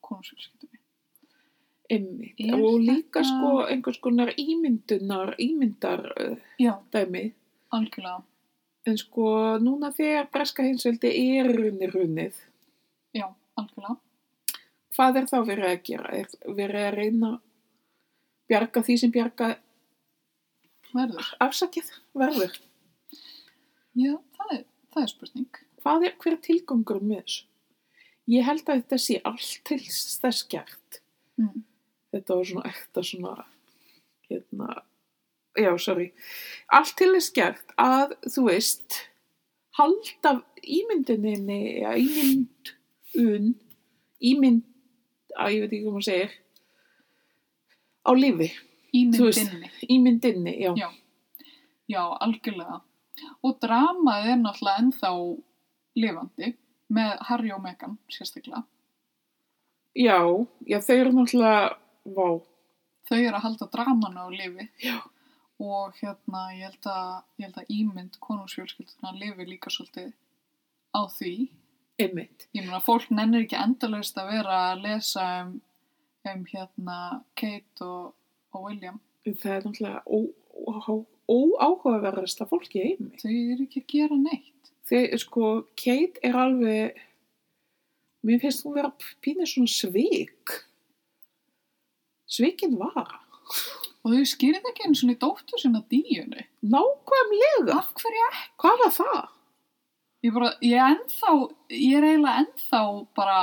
Speaker 2: konungsfjölskyldunni.
Speaker 1: Einmitt.
Speaker 2: Er
Speaker 1: og líka
Speaker 2: þetta-
Speaker 1: sko einhvers konar ímyndunar, ímyndar eh,
Speaker 2: Já,
Speaker 1: dæmi.
Speaker 2: algjörlega.
Speaker 1: En sko núna þegar breska hinsveldi er runni runnið,
Speaker 2: Já, algjörlega.
Speaker 1: hvað er þá verið að gera? Er verið að reyna að bjarga því sem bjarga
Speaker 2: Verður.
Speaker 1: afsakið verður?
Speaker 2: Já, það er, það er spurning.
Speaker 1: Hvað er hver er tilgangur með þessu? Ég held að þetta sé allt til þess gert.
Speaker 2: Mm.
Speaker 1: Þetta var svona ekta svona, hérna, já, sorry. Allt til þess gert að, þú veist, halda ímynduninni, ja, ímyndun, ímynd, að ég veit ekki hvað maður segir, á lífi. Þú veist-
Speaker 2: Ímyndinni.
Speaker 1: Ímyndinni, já.
Speaker 2: Já. Já, algjörlega. Og dramað er náttúrulega ennþá lifandi með Harry og Meghan sérstaklega.
Speaker 1: Já, já, þau eru náttúrulega, vá,
Speaker 2: Þau eru að halda draman á lifi.
Speaker 1: Já.
Speaker 2: Og hérna, ég held að, ég held að ímynd konungsfjölskylduna lifi líka svolítið á því.
Speaker 1: einmitt.
Speaker 2: Ég meina, fólk nennir ekki endalaust að vera að lesa um, um hérna Kate og, og William.
Speaker 1: Það er náttúrulega ó- ó- óáhugaverðasta fólki í heimi.
Speaker 2: Þau eru ekki að gera neitt.
Speaker 1: Þegar, sko, Kate er alveg, mér finnst hún vera pínir svona svik. Svikin var.
Speaker 2: Og þau skýrið ekki einu svona dóttur sinna díunni.
Speaker 1: Nákvæmlega.
Speaker 2: Af hverju ekki?
Speaker 1: Hvað var það?
Speaker 2: Ég bara, ég er ennþá, ég er eiginlega ennþá bara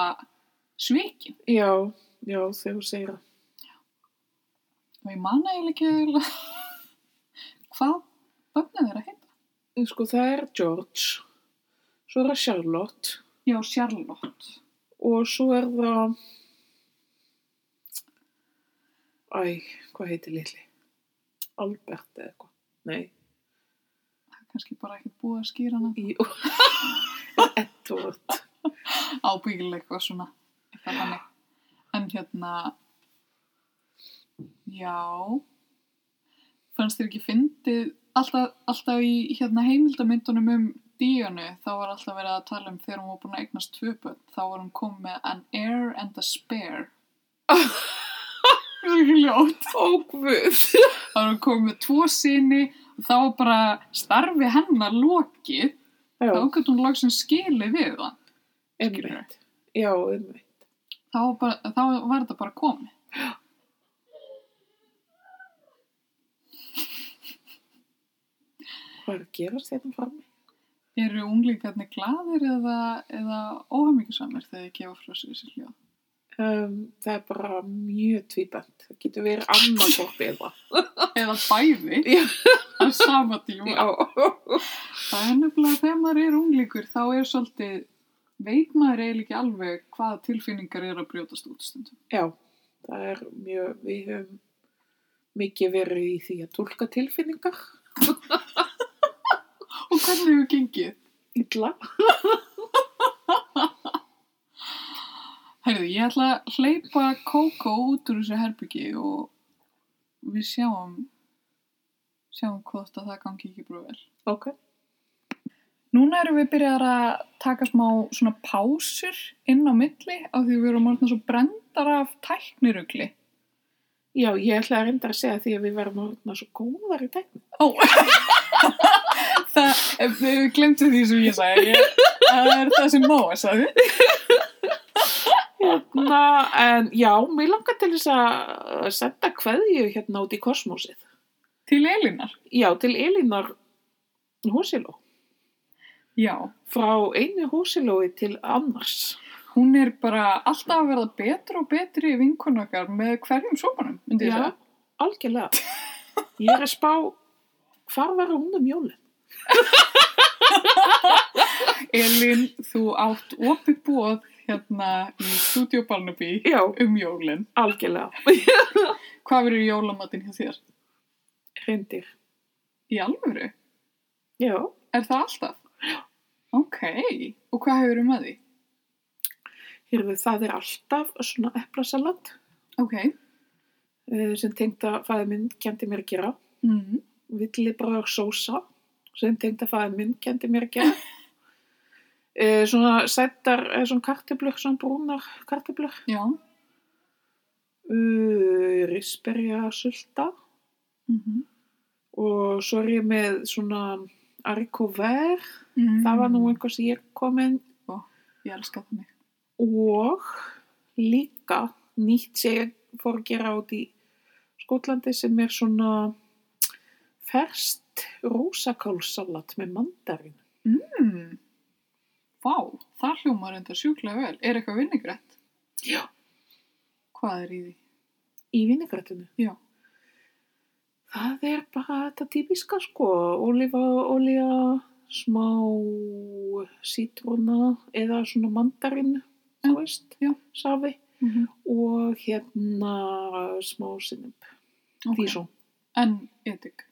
Speaker 2: svikin.
Speaker 1: Já, já, þegar hún segir það.
Speaker 2: Og ég manna eiginlega ekki eiginlega hvað bönnið er að heita.
Speaker 1: En, Sko, það er George, svo er það Charlotte
Speaker 2: Já, Charlotte.
Speaker 1: og svo er það, æ, hvað heitir litli? Albert eða eitthvað. Nei,
Speaker 2: Það er kannski bara ekki búið að skýra hana.
Speaker 1: í... Edward.
Speaker 2: ábyggilega eitthvað svona eitthvað þannig en hérna Já. Fannst þér ekki fyndið alltaf, alltaf í hérna heimildamyndunum um Díanu, þá var alltaf verið að tala um þegar hún var búin að eignast tvö börn, þá var hún komið með an heir and a spare. Það er ekki ljótt.
Speaker 1: Ógvöð.
Speaker 2: Þá var hún komið með tvo sinni og þá var bara starfi hennar lokið,
Speaker 1: Já,
Speaker 2: þá gæti hún lagsum skilið við það.
Speaker 1: einmitt. Já, einmitt.
Speaker 2: Þá var, bara, þá var þetta bara komið.
Speaker 1: Hvað er að gerast þetta fram?
Speaker 2: Eru unglingarnir glaðir eða, eða óhæmmingisamir þegar þið gefa frá sér sér hljóð?
Speaker 1: Um, það er bara mjög tvíbent. Það getur verið annarkort eða.
Speaker 2: eða bæði
Speaker 1: Já.
Speaker 2: á sama tíma.
Speaker 1: Já.
Speaker 2: Það er nefnilega þegar maður er unglíkur þá er svolítið, veit maður eiginlega ekki alveg hvaða tilfinningar er að brjótast út stundum.
Speaker 1: Já, það er mjög, við höfum mikið verið í því að tólka tilfinningar.
Speaker 2: Og hvernig hefur gengið?
Speaker 1: Ítla.
Speaker 2: Herðu, ég ætla að hleypa Kókó út úr þessu herbyggi og við sjáum, sjáum hvort að það gangi ekki brúið vel.
Speaker 1: Ok.
Speaker 2: Núna erum við byrjar að taka smá svona pásur inn á milli af því við erum orðin svo brendar af tæknirugli.
Speaker 1: Já, ég ætla að reynda að segja því að við verðum orðna svo góðar í tækni.
Speaker 2: Ó. Það, ef þið glemtu því sem ég sagði, ég, það er það sem Móa sagði.
Speaker 1: Hérna, en já, mér langar til þess að senda kveðju hérna út í kosmósið.
Speaker 2: Til Elinar.
Speaker 1: Já, til Elinar Hósiló.
Speaker 2: Já.
Speaker 1: Frá einu Hósilói til annars.
Speaker 2: Hún er bara alltaf að verða betur og betri í vinkonakar með hverjum sopanum, myndi ég
Speaker 1: Já,
Speaker 2: segja.
Speaker 1: algjörlega. Ég er að spá, hvar verður hún um jólinn?
Speaker 2: Elin, þú átt opið bóð hérna í Studio Barnaby
Speaker 1: Já,
Speaker 2: um jólinn.
Speaker 1: algjörlega.
Speaker 2: Hvað verður jólamatinn hjá þér?
Speaker 1: Reyndir.
Speaker 2: Í alvöru?
Speaker 1: Já.
Speaker 2: Er það alltaf? Ok. Og hvað hefur þú með því?
Speaker 1: Hérfið, það er alltaf svona eplasalat
Speaker 2: Ok.
Speaker 1: eh, sem tengda fæði minn kendi mér að gera.
Speaker 2: Mm.
Speaker 1: villibröður sósa sem tengda fæðið minn kendi mér að gera. Eh, svona sættar, eh, svona kartiblur, svona brúnar kartiblur,
Speaker 2: Já.
Speaker 1: uh, risperja sulta
Speaker 2: Mm
Speaker 1: Mhm.
Speaker 2: -hmm.
Speaker 1: og svo er ég með svona arikover, það var nú einhver sem ég kom inn
Speaker 2: Mm. Ég elska þannig.
Speaker 1: og líka nýtt sem ég fór að gera út í Skotlandi sem er svona ferst rósakálsalat með mandarin. Hmm.
Speaker 2: Mm. Vá, það hljómar enda sjúklega vel. Er eitthvað vinningrætt?
Speaker 1: Já.
Speaker 2: Hvað er í því?
Speaker 1: Í vinningrættinu?
Speaker 2: Já.
Speaker 1: Það er bara þetta típiska sko, ólífa, ólíja, smá sítrúna eða svona mandarin, þú veist,
Speaker 2: já.
Speaker 1: safi
Speaker 2: Mm -hmm.
Speaker 1: og hérna smá sinnum, því svo.
Speaker 2: En etik?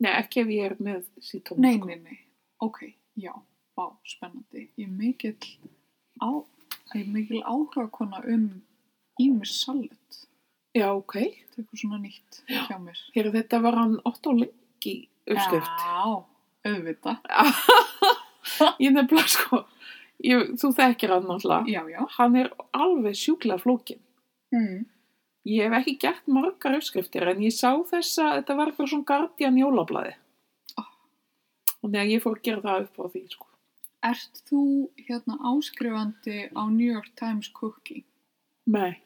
Speaker 1: Nei, ekki ef ég er með sítrúna.
Speaker 2: Nei, nei, nei. Sko. Ok, já. Vá, spennandi. Ég er mikill, á, ég er mikill áhuga kona um ímis salut.
Speaker 1: Já, ok.
Speaker 2: Þetta er eitthvað svona nýtt hjá mér.
Speaker 1: Hér þetta var hann 8 og lengi uppskrift.
Speaker 2: Já, auðvitað.
Speaker 1: Ég nefnilega sko, ég, þú þekkir hann náttúrulega.
Speaker 2: Já, já.
Speaker 1: Hann er alveg sjúklega flókin. Hmm.
Speaker 2: Mm.
Speaker 1: Ég hef ekki gert margar uppskriftir en ég sá þess að þetta var eitthvað svona Guardian jólablaði.
Speaker 2: Ah.
Speaker 1: Og neða ég fór að gera það upp á því, sko.
Speaker 2: Ert þú hérna áskrifandi á New York Times Cooking?
Speaker 1: Nei.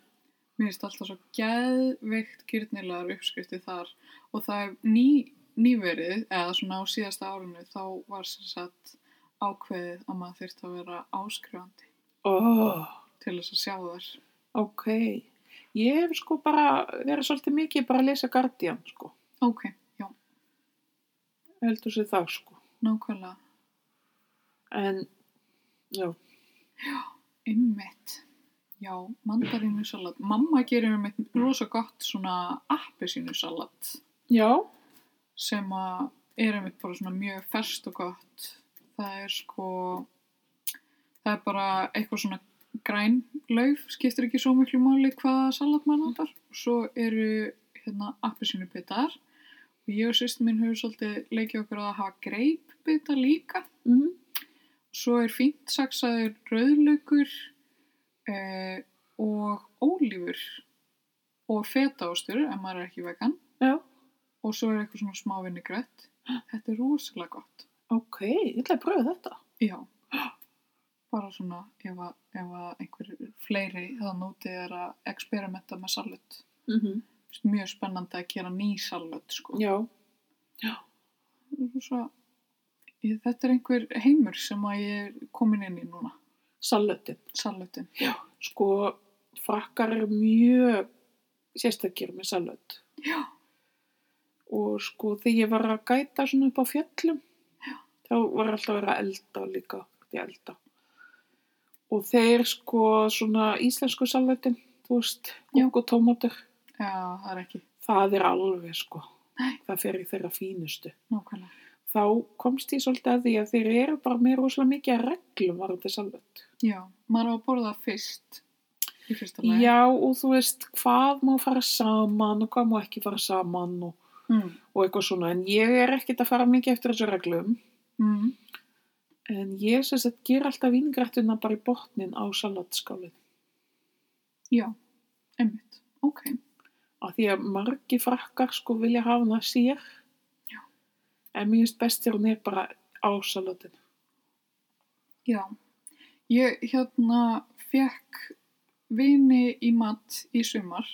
Speaker 2: Mér finnst alltaf svo geðveikt gyrnilegar uppskrifti þar og það er ný, nýverið, eða svona á síðasta árinu, þá var sem sagt ákveðið að maður þyrfti að vera áskrifandi
Speaker 1: Ó,
Speaker 2: til þess að sjá þar.
Speaker 1: Ah, ok. Ég hef sko bara verið svolítið mikið bara að lesa Guardian, sko.
Speaker 2: Ok, já,
Speaker 1: Heldur sér það, sko.
Speaker 2: nákvæmlega,
Speaker 1: En, já,
Speaker 2: ymmit. Já, mandarínu salat. Mamma gerir mér rosa gott svona appisínu salat
Speaker 1: já,
Speaker 2: sem að er einmitt bara svona mjög ferskt og gott. Það er sko, það er bara eitthvað svona græn lauf skiptir ekki svo miklu máli hvaða salat maður notar svo eru hérna appelsínubitar og ég og sýst minn hefur svolítið leikið okkur á að hafa greipbitar líka
Speaker 1: Mm.
Speaker 2: svo er fínt saksaður rauðlaukur eh, og ólífur og fetaostur ef maður er ekki vegan
Speaker 1: Já.
Speaker 2: og svo er eitthvað svona smávinni grött þetta er rosalega gott
Speaker 1: Ok, ég ætla að pröfa þetta.
Speaker 2: Já, bara svona ef að, ef að einhver fleiri það nútið er að experimenta með salut.
Speaker 1: Mm
Speaker 2: Mhm.
Speaker 1: -hmm.
Speaker 2: Mjög spennandi að gera ný salut, sko.
Speaker 1: Já.
Speaker 2: Svo, ég, þetta er einhver heimur sem að ég er komin inn í núna,
Speaker 1: Salutin.
Speaker 2: salutin.
Speaker 1: Sko, frakkar eru mjög sérstakir með salut.
Speaker 2: Já.
Speaker 1: Og sko, þegar ég var að gæta svona upp á fjöllum, þá var alltaf að vera að elda líka, því elda. Og þeir sko svona íslensku salutin, þú veist,
Speaker 2: Já.
Speaker 1: kúk og tómatur,
Speaker 2: Já, það er ekki
Speaker 1: það er alveg sko,
Speaker 2: Nei.
Speaker 1: það fer í þeirra fínustu.
Speaker 2: nákvæmlega.
Speaker 1: Þá komst ég svolítið að því að þeir eru bara með rosalega mikið að reglum varðandi salut.
Speaker 2: Já, maður á að borða það fyrst í fyrsta lagi.
Speaker 1: Já, og þú veist, hvað má fara saman og hvað má ekki fara saman og,
Speaker 2: Mm.
Speaker 1: og eitthvað svona. En ég er ekkert að fara mikið eftir þessu reglum.
Speaker 2: Mm.
Speaker 1: En ég sem sagt ger alltaf vingrættuna bara í botnin á salatskálinn.
Speaker 2: Já, einmitt. Ok,
Speaker 1: Af því að margi frakkar sko vilja hafa hana sér.
Speaker 2: Já.
Speaker 1: En mér finnst best þegar hún er bara á salatinu.
Speaker 2: já. Ég hérna fekk vini í mat í sumar.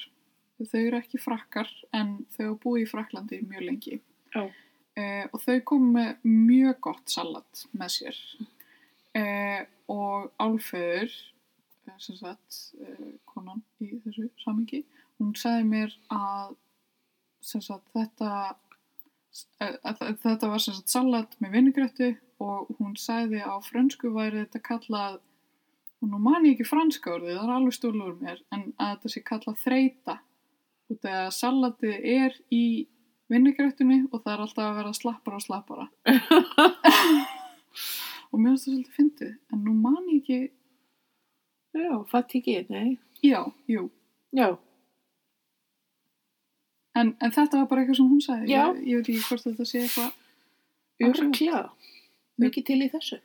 Speaker 2: Þau eru ekki frakkar en þau hafa búið í Fraklandi mjög lengi.
Speaker 1: Já.
Speaker 2: Eh, og þau komu með mjög gott salat með sér. Eh, og Álföður, eh, sem sagt, eh, konan í þessu samingi, hún sagði mér að sem sagt, þetta, eh, að, að, þetta var sem sagt, salat með vinnigröttu og hún sagði á frönsku væri þetta kallað og nú man ég ekki franska orðið, það er alveg stúlu úr mér, en að þetta sé kallað þreita út af að salatið er í vinnigröttunni og það er alltaf að vera slappara og slappara og mér finnst það svolítið fyndið, en nú man ég ekki
Speaker 1: Já, fatt ekki, nei.
Speaker 2: já, jú,
Speaker 1: Já,
Speaker 2: en, en þetta var bara eitthvað sem hún sagði
Speaker 1: Já.
Speaker 2: ég, ég veit ekki hvort þetta sé eitthvað Absolutt.
Speaker 1: örkla. Mikið til í þessu.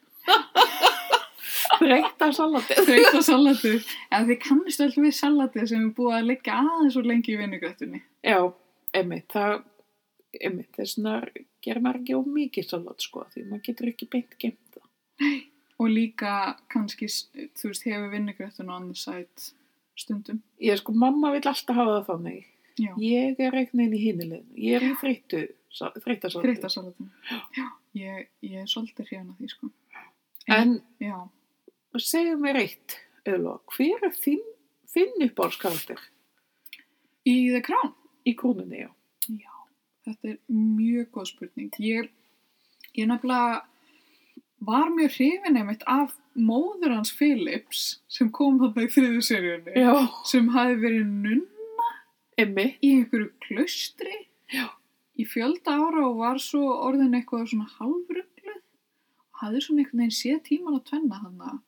Speaker 1: Reykta salatið.
Speaker 2: þreita salatið en þið kannist öll við salatið sem er búið að leggja aðeins og lengi í vinnigröttunni
Speaker 1: Já, einmitt, það, einmitt, þess vegna gerir maður ekki ómikið salat, sko, því maður getur ekki beint gemt það.
Speaker 2: og líka kannski, s- þú veist, hefur vinnigröttun on the side stundum
Speaker 1: Ég, sko, mamma vil alltaf hafa það þannig.
Speaker 2: já,
Speaker 1: Ég er einhvern veginn í hinuleginu. Ég er í þreyttu, þreytta salat.
Speaker 2: þreita salatið já, ég, ég er svolítið hrjana því sko
Speaker 1: En
Speaker 2: já,
Speaker 1: segðu mér eitt, Öðló, hver er þinn, þinn uppáhalskarakter
Speaker 2: í The Crown
Speaker 1: í krúnunni, já?
Speaker 2: Já, þetta er mjög góð spurning. Ég, ég nefnilega var mjög hrifin einmitt af móður hans Phillips sem kom þarna í þriðu seríunni
Speaker 1: Já.
Speaker 2: sem hafi verið nunn
Speaker 1: Einmitt,
Speaker 2: í einhverju klaustri
Speaker 1: Já.
Speaker 2: í fjölda ára og var svo orðin eitthvað svona halvrugluð og hafði svona einhvern veginn sé tíman að tvenna þarna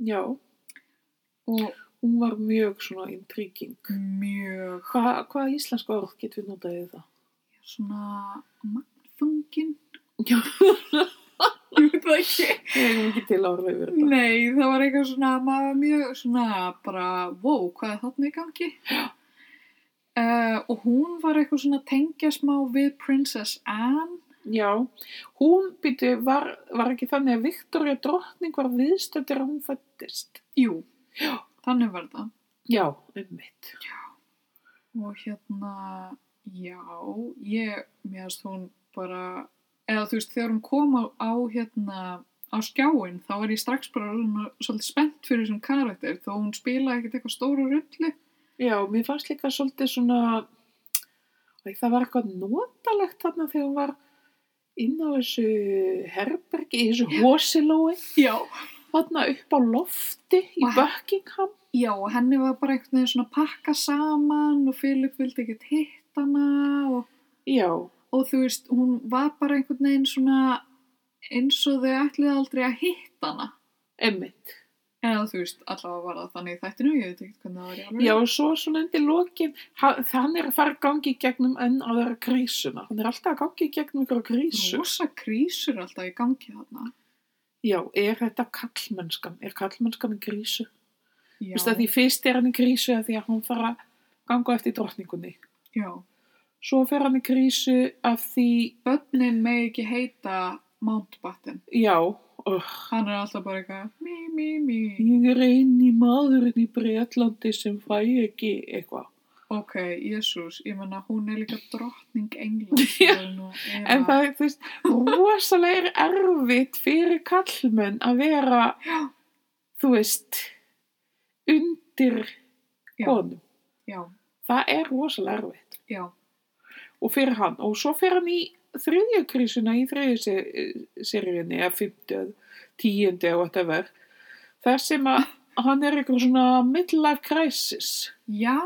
Speaker 1: já,
Speaker 2: og
Speaker 1: hún var mjög svona intriguing.
Speaker 2: mjög
Speaker 1: Hva, hvaða íslenska orð getur við notaðið það?
Speaker 2: svona magnfungin
Speaker 1: Já.
Speaker 2: ég veit það ekki
Speaker 1: Ég er ekki til ára yfir þetta.
Speaker 2: Nei, það var eitthvað svona, maður var mjög svona bara, wow, hvað er þarna í gangi? Uh, og hún var eitthvað svona að tengja smá við Princess Anne.
Speaker 1: Já, hún býtu, var, var ekki þannig að Viktoria drottning var viðstöndir að hún fættist.
Speaker 2: Jú, þannig var það.
Speaker 1: Já, einmitt.
Speaker 2: Og hérna, já, ég, mér finnst hún bara, eða þú veist, þegar hún kom á, á hérna, á skjáin, þá var ég strax bara svona, svolítið spennt fyrir þessum karakter, þó hún spilaði ekkert eitthvað stóru rullu.
Speaker 1: Já, mér fannst líka svolítið svona, Æ, það var eitthvað notalegt þarna þegar hún var inn á þessu herbergi, í þessu hosilói,
Speaker 2: Já.
Speaker 1: þarna upp á lofti í
Speaker 2: Og-
Speaker 1: Buckingham.
Speaker 2: Já, og henni var bara einhvern veginn svona að pakka saman og Filip vildi ekkert hitt hana og,
Speaker 1: Já,
Speaker 2: og þú veist, hún var bara einhvern veginn svona eins og þau ætliði aldrei að hitt hana.
Speaker 1: einmitt.
Speaker 2: En þú veist, allavega var það þannig í þættinu, ég veit ekki hvernig það var í alveg.
Speaker 1: Já, og svo svona undir lokin, ha- hann er að fara í gangi í gegnum enn aðra krísuna. Hann er alltaf að gangi í gegnum ykkur krísu.
Speaker 2: Rosa krísur alltaf í gangi þarna.
Speaker 1: Já, er þetta kallmennskan? Er kallmennskan í krísu?
Speaker 2: Já,
Speaker 1: Þú veist að því fyrst er hann í krísu að því að hann fara að ganga eftir drottningunni.
Speaker 2: já.
Speaker 1: Svo fer hann í krísu af því,
Speaker 2: Bönnin megi ekki heita Mountbatten.
Speaker 1: já, oh,
Speaker 2: Hann er alltaf bara eitthvað, mí, mí, mí.
Speaker 1: ég er eini maðurinn í Breitlandi sem fæ ekki eitthvað.
Speaker 2: Ok, Jésús, ég menna hún er líka drottning England.
Speaker 1: Já. En
Speaker 2: en
Speaker 1: það er, þú veist, rosalega er erfitt fyrir kallmenn að vera,
Speaker 2: Já.
Speaker 1: þú veist, undir
Speaker 2: Já.
Speaker 1: honum.
Speaker 2: Já,
Speaker 1: Það er rosalega erfitt.
Speaker 2: já,
Speaker 1: Og fyrir hann. Og svo fyrir hann í þriðja krísuna í þriðja seríunni, eða fymtu, tíundi og whatever. Þar sem að hann er eitthvað svona midlife crisis.
Speaker 2: já.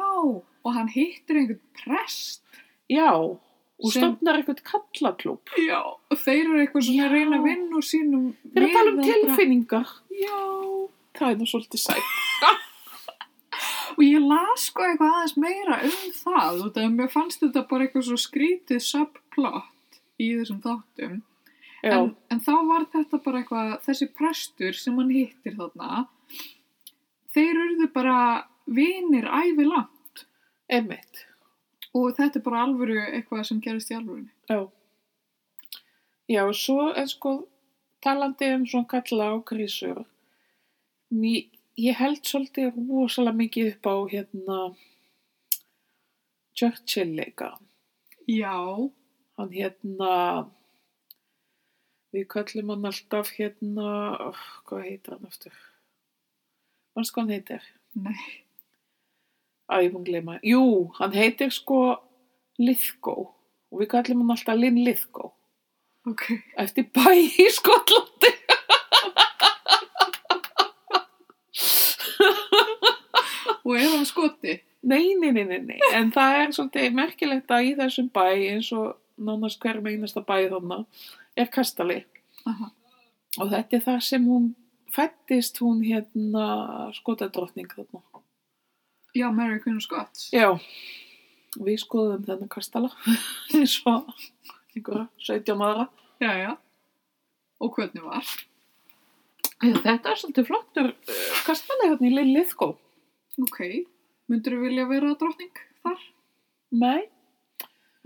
Speaker 2: Og hann hittir einhvern prest.
Speaker 1: Já. Og
Speaker 2: Sem-
Speaker 1: stofnar eitthvað kallaklúb.
Speaker 2: Já. Og þeir eru eitthvað svona að
Speaker 1: Já.
Speaker 2: reyna að vinna úr sínum.
Speaker 1: Þeir eru að tala um
Speaker 2: miðaldra-
Speaker 1: tilfinningar.
Speaker 2: Já.
Speaker 1: Það er nú svolítið sætt.
Speaker 2: Og ég las sko eitthvað aðeins meira um það út af að mér fannst þetta bara eitthvað svo skrítið subplot í þessum þáttum.
Speaker 1: Já.
Speaker 2: En, en þá var þetta bara eitthvað, þessi prestur sem hann hittir þarna, þeir eruðu bara vinir æfila
Speaker 1: Einmitt,
Speaker 2: og þetta er bara alvöru eitthvað sem gerist í alvörunni.
Speaker 1: já. Já, og svo er sko talandi um svona kalla á krísur. Mér, ég held svolítið rosalega mikið upp á hérna Churchill leika.
Speaker 2: Já,
Speaker 1: Hann hérna, við kallum hann alltaf hérna, oh, hvað heitir hann aftur? Manstu hvað hann heitir?
Speaker 2: nei,
Speaker 1: Æ, ég fann gleyma. Jú, hann heitir sko Lithgow og við kallum hann alltaf Lynn Lithgow.
Speaker 2: ok.
Speaker 1: eftir bæ í Skotlandi.
Speaker 2: Og er hann skoti?
Speaker 1: Nei, nei, nei, nei, nei, en það er svolítið merkilegt að í þessum bæ eins og nánast hver einasta bæ þannig er kastali
Speaker 2: Aha.
Speaker 1: og þetta er það sem hún fættist hún hérna skotadrottning þarna.
Speaker 2: Já, Mary Queen of Scots.
Speaker 1: Já, við skoðum þennan kastala eins og einhverja 17 aðra.
Speaker 2: Já, já. Og hvernig var?
Speaker 1: Þetta er svolítið flottur eh, kastali hérna í Lillithgó.
Speaker 2: Ok. Myndur þú vilja vera drottning þar?
Speaker 1: Nei,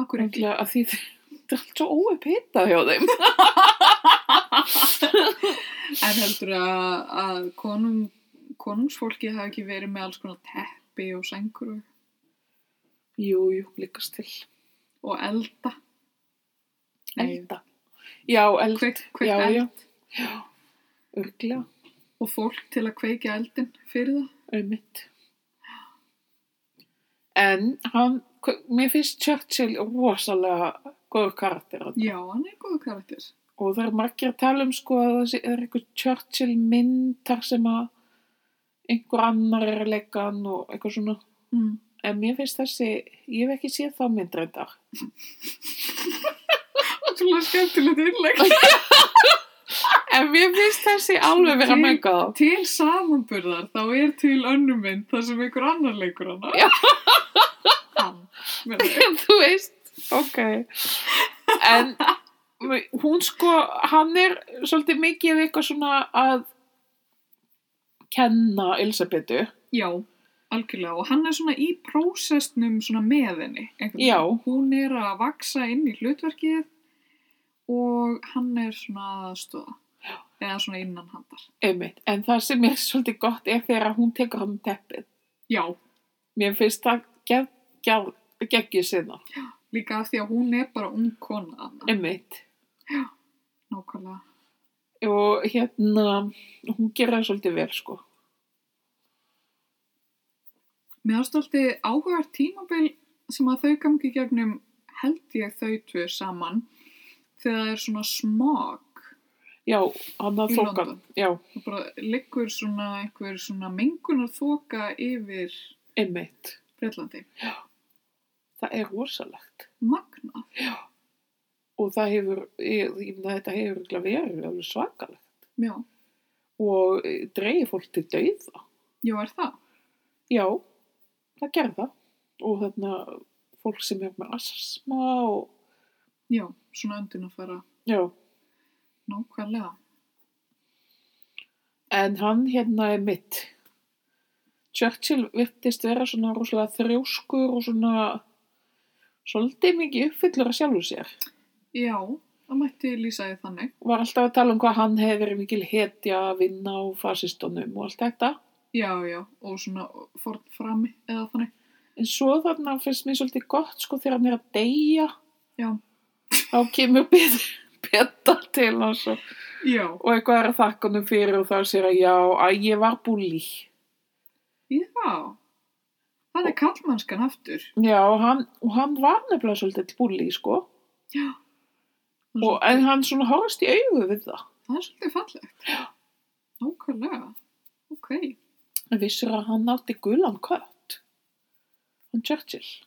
Speaker 2: Akkur ekki.
Speaker 1: reynglega að því þetta er allt svo óupphitað hjá þeim.
Speaker 2: En heldur að, að konung, konungsfólki hafi ekki verið með alls konar teppi og sengur og,
Speaker 1: Jú, jú, líkast til.
Speaker 2: og elda?
Speaker 1: Elda. Já, elda.
Speaker 2: Kveikt, kveikt
Speaker 1: já,
Speaker 2: eld
Speaker 1: já. Já, örglega,
Speaker 2: og fólk til að kveikja eldin fyrir það?
Speaker 1: auðvitað. En hann, mér finnst Churchill rosalega góður karakter hann.
Speaker 2: Já, hann er góðu karakter.
Speaker 1: og það er margir að tala um sko að það sé- er einhver Churchill mynd þar sem að einhver annar er að leika hann og eitthvað svona.
Speaker 2: Mm.
Speaker 1: En mér finnst þessi, ég hef ekki séð þá mynd reyndar.
Speaker 2: Ótrúlega skemmtilegt innleg.
Speaker 1: En mér finnst þessi alveg vera
Speaker 2: Til-
Speaker 1: mengað á.
Speaker 2: til samanburðar þá er til önnum mynd þar sem einhver annar leikur hana.
Speaker 1: Já.
Speaker 2: Hann. meina ég.
Speaker 1: þú veist, ok en hún sko, hann er svolítið mikið við eitthvað svona að kenna Elsabetu,
Speaker 2: Já, algjörlega. Og hann er svona í prósessnum svona með henni. einhvern
Speaker 1: Já.
Speaker 2: veginn. Hún er að vaksa inn í hlutverkið og hann er svona aðstóða. Eða svona innan handar.
Speaker 1: einmitt en það sem er svolítið gott er þegar hún tekur hann um teppið,
Speaker 2: Já,
Speaker 1: mér finnst það gegg, gegg, geggið sinna,
Speaker 2: líka af því að hún er bara ung kona þarna.
Speaker 1: einmitt
Speaker 2: Nákvæmlega.
Speaker 1: og hérna hún gerir það svolítið vel sko
Speaker 2: Mér ástu alltaf áhugað tímabil sem að þau gangi í gegnum held ég þau tvö saman þegar það er svona smog
Speaker 1: já, hann að
Speaker 2: í
Speaker 1: þókan
Speaker 2: London.
Speaker 1: já,
Speaker 2: Það bara liggur svona einhver svona mengunar þoka yfir
Speaker 1: einmitt,
Speaker 2: Breitlandi.
Speaker 1: það er rosalegt
Speaker 2: Magna.
Speaker 1: og það hefur, ég, ég meina þetta hefur örugglega verið alveg svakalegt
Speaker 2: Já,
Speaker 1: og eh, dreigir fólk til dauða.
Speaker 2: Jú, er það?
Speaker 1: Já, það gerði það. Og þarna fólk sem er með asma og,
Speaker 2: Já, svona öndin að fara
Speaker 1: já.
Speaker 2: nákvæmlega.
Speaker 1: En hann hérna er mitt. Churchill virtist vera svona rosalega þrjóskur og svona svolítið mikið uppfyllur að sjálfu sér.
Speaker 2: Já, það mætti lýsa því þannig.
Speaker 1: Var alltaf að tala um hvað hann hefði verið mikil hetja að vinna á fasistunum og allt þetta.
Speaker 2: Já, já, og svona forn frami eða þannig.
Speaker 1: En svo þarna finnst mér svolítið gott sko þegar hann er að deyja.
Speaker 2: Já.
Speaker 1: Þá kemur bet- betta til hans og,
Speaker 2: Já,
Speaker 1: og eitthvað er að þakka hann fyrir og þá sér að já, að ég var búli.
Speaker 2: já. Það er kallmannskan aftur.
Speaker 1: Já, og hann, og hann var nefnilega svolítið búli sko.
Speaker 2: Já. Mm.
Speaker 1: Og, en hann svona horfst í augu við það.
Speaker 2: Það er svolítið fallegt. Nákvæmlega. Ok.
Speaker 1: En vissur að hann átti gulan kött. Hann Churchill.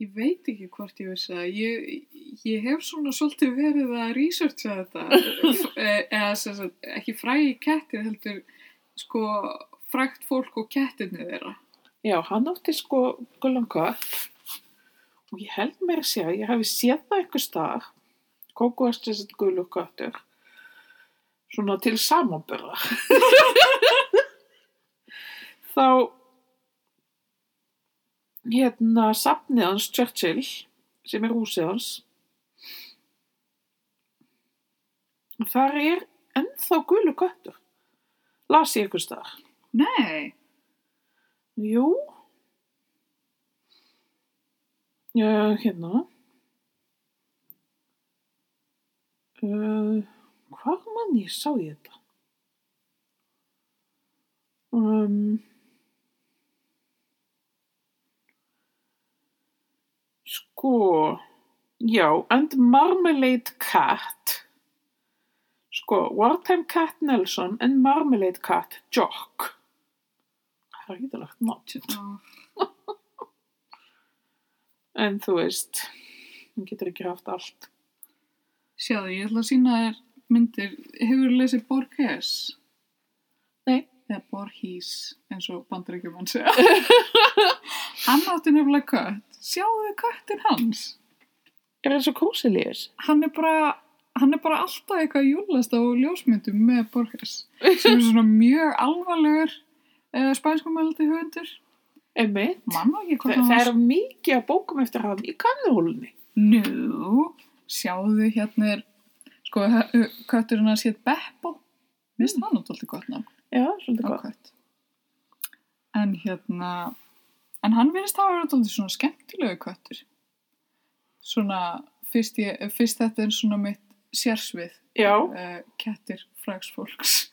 Speaker 2: Ég veit ekki hvort ég vissi það. Ég, ég hef svona svolítið verið að researcha þetta. Eh, Eða sem sagt, ekki frægi kettir heldur sko frægt fólk og kettirni þeirra.
Speaker 1: Já, hann átti sko gulan kött. Og ég held mér að segja, ég hafi séð það einhver staðar. Kókó er þessi gulu köttur. Svona til samanbörða. Þá hérna safnið hans Churchill sem er húsið hans þar er ennþá gulu köttur las ég einhvers staðar
Speaker 2: Nei.
Speaker 1: Jú. Uh, hérna. Uh, hvað mann ég sá ég þetta? Um, sko, já, and Marmalade Cat. Sko, Wartime Cat Nelson and Marmalade Cat Jock. Það er hýðalegt nátt.
Speaker 2: Já.
Speaker 1: En þú veist, hún getur ekki haft allt.
Speaker 2: Sjáðu, ég ætla að sína þér myndir. Hefur lesið Borges?
Speaker 1: Nei.
Speaker 2: Eða Borges, eins og bandaríkjumann segja. hann átti nefnilega kött. Sjáðu köttin hans.
Speaker 1: Er það svo kósilíus?
Speaker 2: hann er bara hann er bara alltaf eitthvað júlast á ljósmyndum með Borges sem er svona mjög alvarlegur uh, spænskumældi höfundur
Speaker 1: Einmitt.
Speaker 2: mann og ekki
Speaker 1: Þa,
Speaker 2: hvað
Speaker 1: það
Speaker 2: það
Speaker 1: er mikið að bókum eftir hann í kannuhólunni.
Speaker 2: nú, sjáðu hérna er sko, hö- kötturinn hans hétt Beppo minnst mm. hann út alltaf gott nafn
Speaker 1: Já, svolítið
Speaker 2: á
Speaker 1: gott.
Speaker 2: kött en hérna en hann verðist hafa verið alltaf svona skemmtilegu köttur svona fyrst, ég, fyrst þetta er svona mitt sérsvið
Speaker 1: Já,
Speaker 2: uh, kettir frægs fólks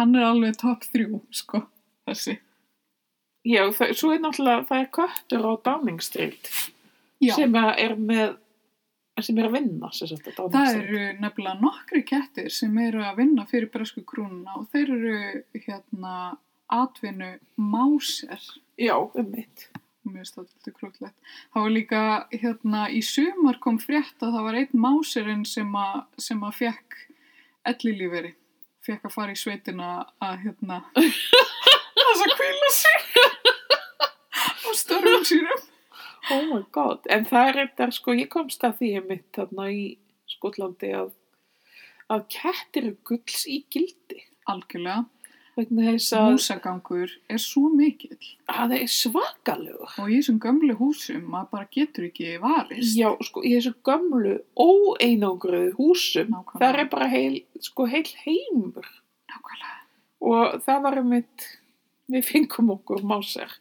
Speaker 2: hann er alveg top 3 sko, þessi
Speaker 1: já það, svo er náttúrulega, það er köttur á Downing Street sem að er með, sem er að vinna, sem sagt, á Downing
Speaker 2: það
Speaker 1: Street.
Speaker 2: eru nefnilega nokkri kettir sem eru að vinna fyrir bresku krúnuna og þeir eru hérna atvinnu máser
Speaker 1: Já, einmitt.
Speaker 2: mér finnst það alltaf krútlegt það var líka hérna í sumar kom frétt að það var einn máserinn sem að, sem að fekk ellilíferi fekk að fara í sveitina að hérna þess að kvíla sig og störfum sínum
Speaker 1: Oh my god. En það er þetta, sko, ég komst að því einmitt þarna í Skotlandi að, að kettir eru gulls í gildi.
Speaker 2: algjörlega,
Speaker 1: Vegna þess að
Speaker 2: húsagangur er svo mikill
Speaker 1: að það er svakalegur.
Speaker 2: og í þessum gömlu húsum maður bara getur ekki varist
Speaker 1: Já, sko, í þessu gömlu, óeinangruðu húsum,
Speaker 2: Nákvæmlega.
Speaker 1: það er bara heil, sko, heil heimur.
Speaker 2: nákvæmlega,
Speaker 1: Og það var um eitt, við fengum okkur máser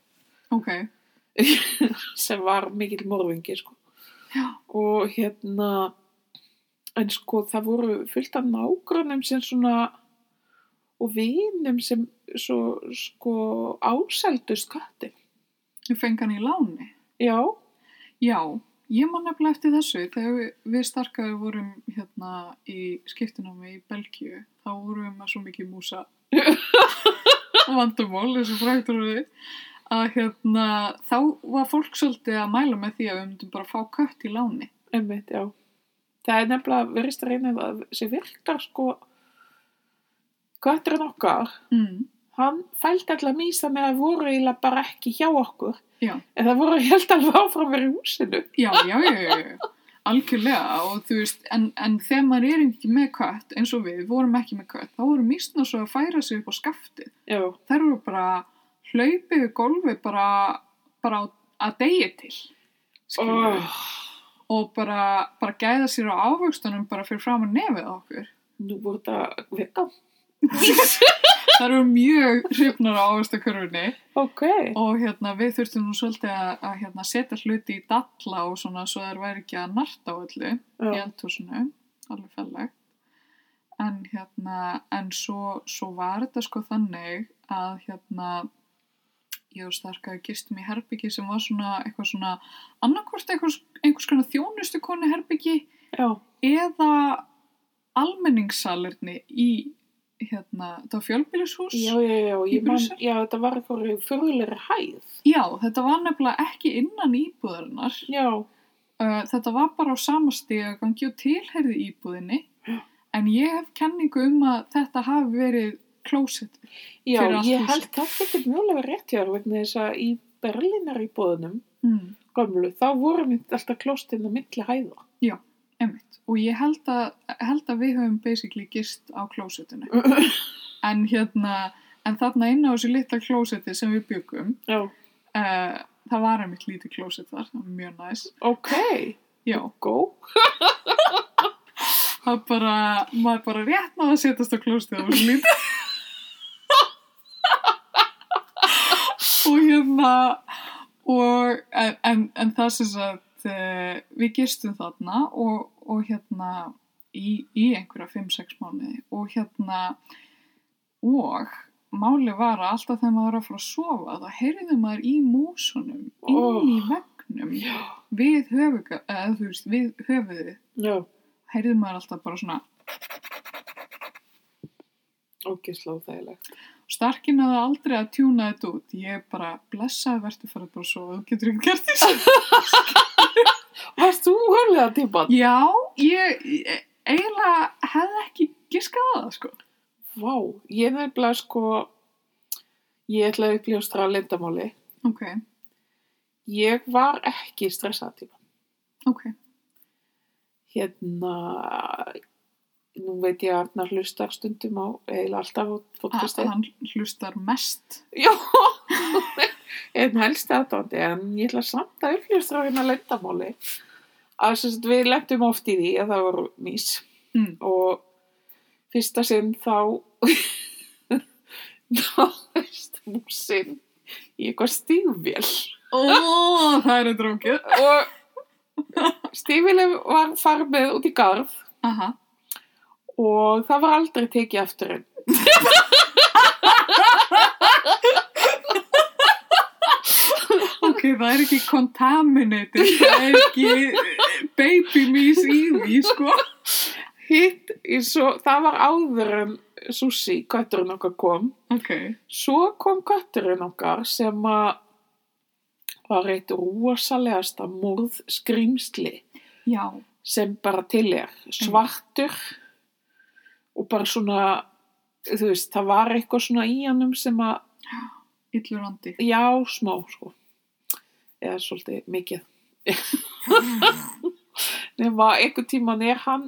Speaker 2: ok,
Speaker 1: sem var mikill morðingi, sko.
Speaker 2: já,
Speaker 1: Og hérna, en sko, það voru fullt af nágrunum sem svona, og vinum sem svo, sko, ásældust kattin.
Speaker 2: ég fengi hann í láni
Speaker 1: Já,
Speaker 2: Já, ég man nefnilega eftir þessu þegar við, við starkaði vorum hérna í skiptinámi í Belgíu þá vorum við með svo mikið músa vandumál þessu fræktur við að hérna þá var fólk svolítið að mæla með því að við myndum bara fá kött í láni
Speaker 1: einmitt, já. Það er nefnilega verist að reyna að sem virkar sko Kötturinn okkar,
Speaker 2: Mm.
Speaker 1: hann fældi allar mísa með að voru eiginlega bara ekki hjá okkur.
Speaker 2: Já.
Speaker 1: En það voru held alveg áfram verið í húsinu.
Speaker 2: Já, já, já, já, já. Algjörlega og þú veist, en, en þegar maður er ekki með kött, eins og við vorum ekki með kött, þá voru mísna svo að færa sig upp á skaftið.
Speaker 1: Já,
Speaker 2: Þær eru bara hlaupið í gólfi bara, bara á- að degi til. skilurðu.
Speaker 1: oh,
Speaker 2: Og bara, bara gæða sér á ávöxtunum bara fyrir fram að nefið á okkur.
Speaker 1: nú voru þetta vegan.
Speaker 2: Þær eru mjög hrifnar á ávöxtakörfunni
Speaker 1: Ok,
Speaker 2: og hérna, við þurftum nú svolítið að, að hérna, setja hluti í dalla og svona svo þær væri ekki að narta á öllu. í
Speaker 1: já,
Speaker 2: eldhúsinu, alveg fellegt. En hérna, en svo, svo var þetta sko þannig að hérna, ég og starkaði gistum um í herbyggi sem var svona eitthvað svona annarkvort einhvers, einhvers konar þjónustu konu herbyggi
Speaker 1: já,
Speaker 2: eða almenningssalerni í hérna, þetta var fjölbýlishús.
Speaker 1: já, já, já,
Speaker 2: Í
Speaker 1: ég man,
Speaker 2: Brussel?
Speaker 1: já, þetta var eitthvað fyrirlegri hæð.
Speaker 2: Já, þetta var nefnilega ekki innan íbúðarinnar.
Speaker 1: Já,
Speaker 2: Uh, þetta var bara á sama stegagangi og tilherði íbúðinni en ég hef kenningu um að þetta hafi verið klósett.
Speaker 1: já,
Speaker 2: Fyrir allt
Speaker 1: ég
Speaker 2: húsið.
Speaker 1: held það getur mjögulega rétt hjá þér vegna þess að í Berlínar í bóðunum,
Speaker 2: Mm,
Speaker 1: gömlu, þá voru mitt alltaf klóstinn á milli hæða.
Speaker 2: einmitt. Og ég held að, held að við höfum basically gist á klósettinu. En hérna, en þarna inn á þessu litla klósetti sem við byggum,
Speaker 1: Já,
Speaker 2: uh, það var einmitt lítið klósett þar, það var mjög næs.
Speaker 1: ok,
Speaker 2: Já,
Speaker 1: gó.
Speaker 2: það bara, maður bara rétt náða að setjast á klósettið, það var svo lítið. og hérna og en, en, en það sem sagt uh, við gistum þarna og, og hérna í, í einhverja 5-6 mánuði og hérna og máli var að alltaf þegar maður var að fara að sofa þá heyrði maður í músunum inn í
Speaker 1: Oh.
Speaker 2: vegnum
Speaker 1: Já,
Speaker 2: við höfuð, eða, þú veist, við höfuði
Speaker 1: já,
Speaker 2: heyrði maður alltaf bara svona
Speaker 1: ógislega óþægilegt.
Speaker 2: Starkin hafði aldrei að tjúna þetta út. Ég bara blessaði verði fara bara svo og getur ekki gert því
Speaker 1: Varst þú hörlega típan?
Speaker 2: Já, ég, ég eiginlega hefði ekki giskað á það, sko.
Speaker 1: Vá, ég nefnilega sko, ég ætla að uppljóstra lindamáli.
Speaker 2: Ok,
Speaker 1: Ég var ekki stressað típan.
Speaker 2: ok.
Speaker 1: Hérna, nú veit ég að Arnar hlustar stundum á, eiginlega alltaf á
Speaker 2: Ha,
Speaker 1: podcastið.
Speaker 2: hann hlustar mest.
Speaker 1: Já, en helst aðdóndi, en ég ætla samt að uppljóstra hérna leyndamáli að sem sagt, við lendum oft í því að það voru mís Hmm.
Speaker 2: Mm.
Speaker 1: og fyrsta sinn þá náðist músin í eitthvað stífvél
Speaker 2: Ó, það er eitthvað drókið.
Speaker 1: og stífvél var farið með út í garð
Speaker 2: Aha,
Speaker 1: og það var aldrei tekið aftur enn.
Speaker 2: ok, það er ekki contaminated, það er ekki e, baby mís í því, sko.
Speaker 1: Hitt, eins og það var áður en Susi, kötturinn okkar kom
Speaker 2: Ok,
Speaker 1: Svo kom kötturinn okkar sem að var eitt rosalegasta morð skrýmsli
Speaker 2: já,
Speaker 1: sem bara til er svartur og bara svona, þú veist, það var eitthvað svona í hannum sem að,
Speaker 2: illur andi.
Speaker 1: já, smá, sko, eða svolítið mikið. Nefna einhvern tíman er hann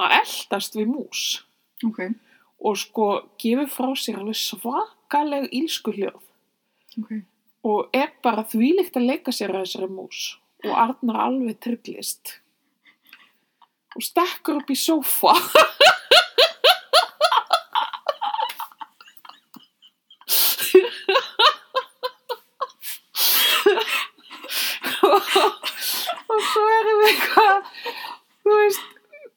Speaker 1: að eldast við mús
Speaker 2: Ok,
Speaker 1: og sko gefur frá sér alveg svakaleg ílskuljóð.
Speaker 2: ok.
Speaker 1: og er bara þvílíkt að leika sér að þessari mús og Arnar alveg trillist og stekkur upp í sófa og svo erum við eitthvað þú veist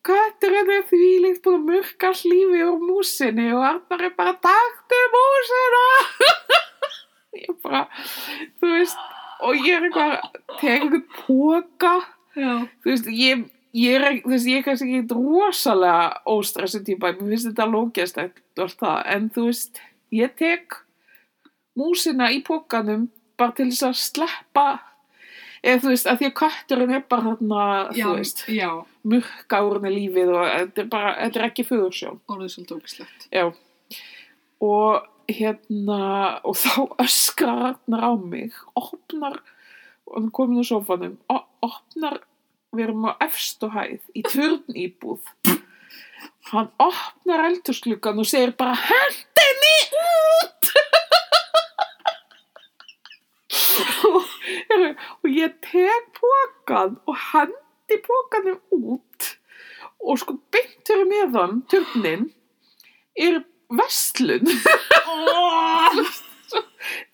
Speaker 1: Kötturinn er því líkt búin að murka hlífi úr músinni og Arnar er bara taktu músina ég bara, þú veist og ég er eitthvað, tegur eitthvað póka
Speaker 2: Já,
Speaker 1: þú veist, ég, ég er þú veist, ég er kannski ekki rosalega óstressu típa, mér finnst þetta lókjast og allt það, en þú veist ég tek músina í pókanum bara til þess að sleppa eða þú veist, að því að kötturinn er bara þarna,
Speaker 2: já,
Speaker 1: þú veist
Speaker 2: já,
Speaker 1: murka úr henni lífið og þetta er bara, þetta er ekki föðursjón
Speaker 2: orðið svolítið ógislegt.
Speaker 1: Já. og hérna og þá öskrar Ragnar á mig opnar og hann komin á sófanum o- opnar, við erum á efstu hæð í törn íbúð hann opnar eldhúsklukkan og segir bara hendi henni út og, heyrðu, og ég tek pókan og hendi pókanum út og sko beint fyrir meðan törnin er vestlun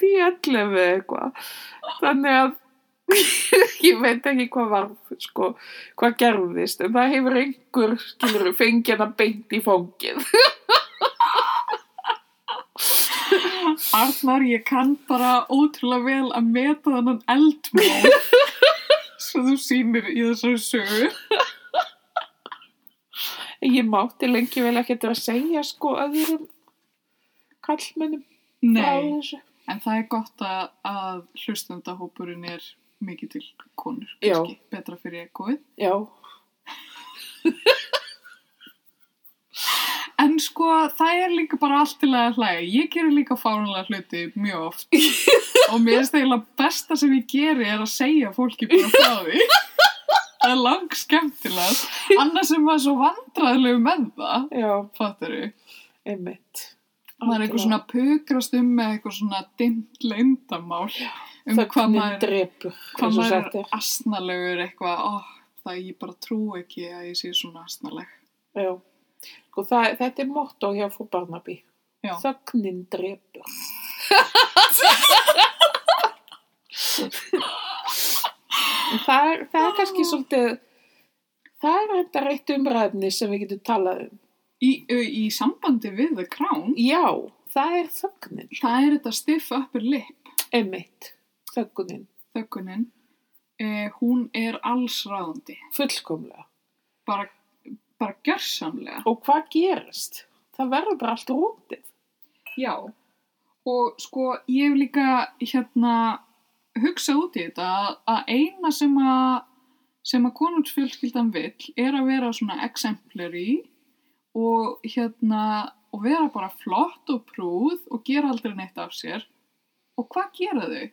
Speaker 1: í 11 eða eitthvað þannig að ég veit ekki hvað var sko, hvað gerðist en það hefur einhver skilur fengjana beint í fóngið
Speaker 2: Arnar, ég kann bara ótrúlega vel að meta þannan eldmóð sem þú sýnir í þessari sögu.
Speaker 1: ég mátti lengi vel ekkert vera að segja sko öðrum kallmennum frá
Speaker 2: Nei,
Speaker 1: þessu.
Speaker 2: en það er gott að, að hlustendahópurinn er mikið til konur,
Speaker 1: Já.
Speaker 2: kannski, betra fyrir ekkoið.
Speaker 1: já,
Speaker 2: En sko, það er líka bara allt til að hlæja. Ég gerir líka fárunlega hluti mjög oft og mér finnst eiginlega besta sem ég geri er að segja fólki bara frá því. Það er lang skemmtilegast. Annars er maður svo vandræðilegu með það,
Speaker 1: já,
Speaker 2: fattar við.
Speaker 1: einmitt
Speaker 2: maður er eitthvað svona að pukrast um með eitthvað svona dimmt leyndamál um hvað
Speaker 1: þögnin
Speaker 2: maður,
Speaker 1: drepur eins
Speaker 2: hvað
Speaker 1: og
Speaker 2: maður
Speaker 1: sagt
Speaker 2: er asnalegur eitthvað, ó, það ég bara trú ekki að ég sé svona asnaleg.
Speaker 1: er já og það, þetta er motto hjá frú Barnaby
Speaker 2: Já.
Speaker 1: þögnin drepur En það er, það er kannski svolítið það er þetta reitt umræðni sem við getum talað um
Speaker 2: Í, ö, í sambandi við The Crown,
Speaker 1: já, það er þögnin
Speaker 2: það er þetta stiff upper lip,
Speaker 1: einmitt, þögnin,
Speaker 2: þöggunin, eh, hún er allsráðandi,
Speaker 1: fullkomlega
Speaker 2: bara, bara gjörsamlega.
Speaker 1: og hvað gerist? það verður bara allt rútið
Speaker 2: Já, og sko ég hef líka hérna hugsað út í þetta að- að eina sem að sem að konungsfjölskyldan vill er að vera svona exemplary og hérna og vera bara flott og prúð og gera aldrei neitt af sér og hvað gera þau?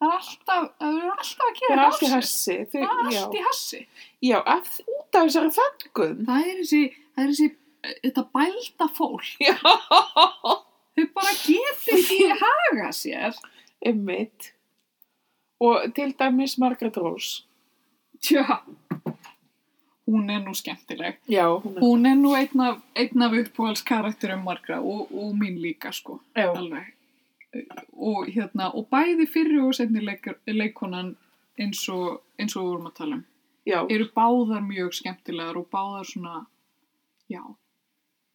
Speaker 2: Það er alltaf, það er alltaf að
Speaker 1: það
Speaker 2: gera
Speaker 1: er
Speaker 2: eitthvað
Speaker 1: allt í
Speaker 2: af sér.
Speaker 1: hassi þau,
Speaker 2: Það er
Speaker 1: já,
Speaker 2: allt í hassi.
Speaker 1: já, að, út af þessari þöggun
Speaker 2: Það er þessi, það er þessi, eh, þetta bælda fólk.
Speaker 1: já,
Speaker 2: Þau bara getur ekki að haga sér.
Speaker 1: einmitt og til dæmis Margaret Rose
Speaker 2: Tja, hún er nú skemmtileg.
Speaker 1: já, hún er,
Speaker 2: Hún er nú einn af, einn af uppbúhalskarakterum margra og, og mín líka, sko,
Speaker 1: já.
Speaker 2: alveg. Og hérna, og bæði fyrri og setni leik, leikonan eins og, eins og við vorum að tala um.
Speaker 1: Já,
Speaker 2: Eru báðar mjög skemmtilegar og báðar svona, já.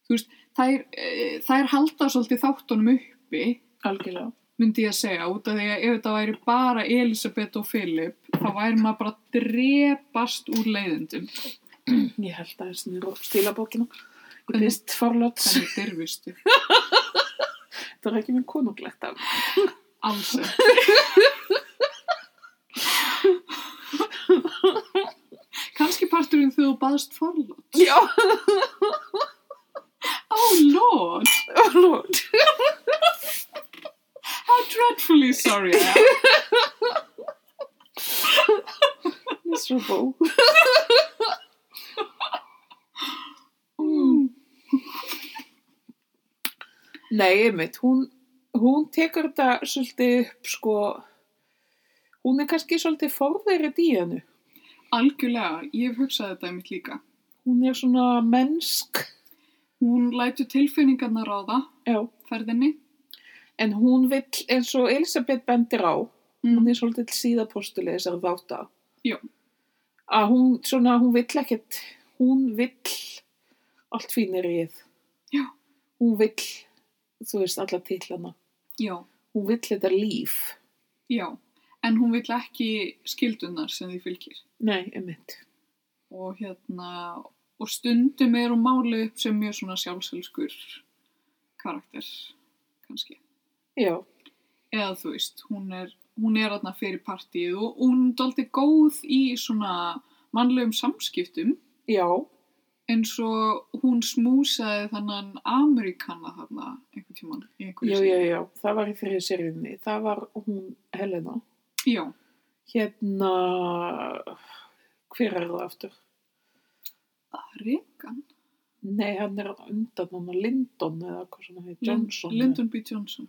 Speaker 2: Þú veist, þær, eh, þær halda svolítið þáttunum uppi,
Speaker 1: algjörlega.
Speaker 2: myndi ég að segja, út af því að ef þetta væri bara Elisabeth og Philip, þá væri maður bara að drepast úr leiðindum.
Speaker 1: Ég held að þessin er stílabókina. Ég byrst forlóts.
Speaker 2: Þannig dyrfustu.
Speaker 1: Það er ekki mjög konunglegt af.
Speaker 2: Alls ekki. Kanski parturinn þegar þú baðst forlót.
Speaker 1: Já,
Speaker 2: Oh lord,
Speaker 1: forlót.
Speaker 2: how dreadfully sorry I am.
Speaker 1: Miserable.
Speaker 2: Mm.
Speaker 1: Nei, einmitt, hún, hún tekur þetta svolítið upp, sko, hún er kannski svolítið forverið í hennu.
Speaker 2: Algjörlega, ég hef hugsað þetta mitt líka.
Speaker 1: Hún er svona mennsk,
Speaker 2: Hún lætur tilfinningarna ráða
Speaker 1: já,
Speaker 2: ferðinni.
Speaker 1: en hún vill, eins og Elisabeth bendir á, hún
Speaker 2: Mm.
Speaker 1: er svolítið síðapostulið þessar þáta
Speaker 2: Já.
Speaker 1: að hún svona, hún vill ekkert hún vill allt fínir í þið
Speaker 2: Já.
Speaker 1: hún vill, þú veist, alla titlana
Speaker 2: Já,
Speaker 1: hún vill þetta líf
Speaker 2: já. En hún vill ekki skildunar sem því fylgir.
Speaker 1: nei, emitt
Speaker 2: og hérna og stundum er hún málið upp sem mjög svona sjálfselskur karakter kannski
Speaker 1: já,
Speaker 2: eða þú veist, hún er hún er aðna fyrir partíð og og hún er daldi góð í svona mannlegum samskiptum
Speaker 1: já,
Speaker 2: eins og hún smúsaði þannan Ameríkana þarna einhvern tíman í
Speaker 1: Já,
Speaker 2: einhverju
Speaker 1: já, já, það var í þriðju seríunni. Það var hún Helena.
Speaker 2: já. já,
Speaker 1: Hérna, hver er það aftur?
Speaker 2: Reagan
Speaker 1: Nei, hann er á undan hann að Lyndon eða hvað svona heit, Johnson. eða-
Speaker 2: Lyndon B. Johnson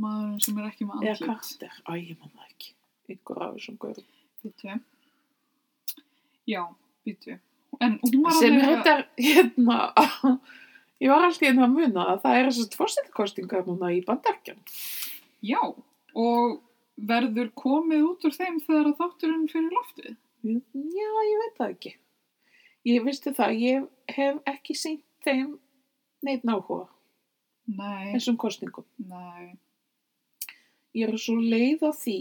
Speaker 2: maðurinn sem er ekki með
Speaker 1: Eða
Speaker 2: andlit
Speaker 1: Carter, æ, ég man það ekki. Ykkur af þessum gaurum.
Speaker 2: Býtu. Já, býtu. En hún var
Speaker 1: Sem
Speaker 2: alveg-
Speaker 1: heitar, hérna, ég var alltaf inn að muna að það er þessast fórsetakostingar núna í bandarkjan.
Speaker 2: Já, og verður komið út úr þeim þegar að þátturinn fyrir loftið.
Speaker 1: Já, ég veit það ekki. Ég visti það, ég hef ekki sýnt þeim neitt náhuga,
Speaker 2: Nei,
Speaker 1: þessum kostingum.
Speaker 2: nei.
Speaker 1: ég er svo leið á því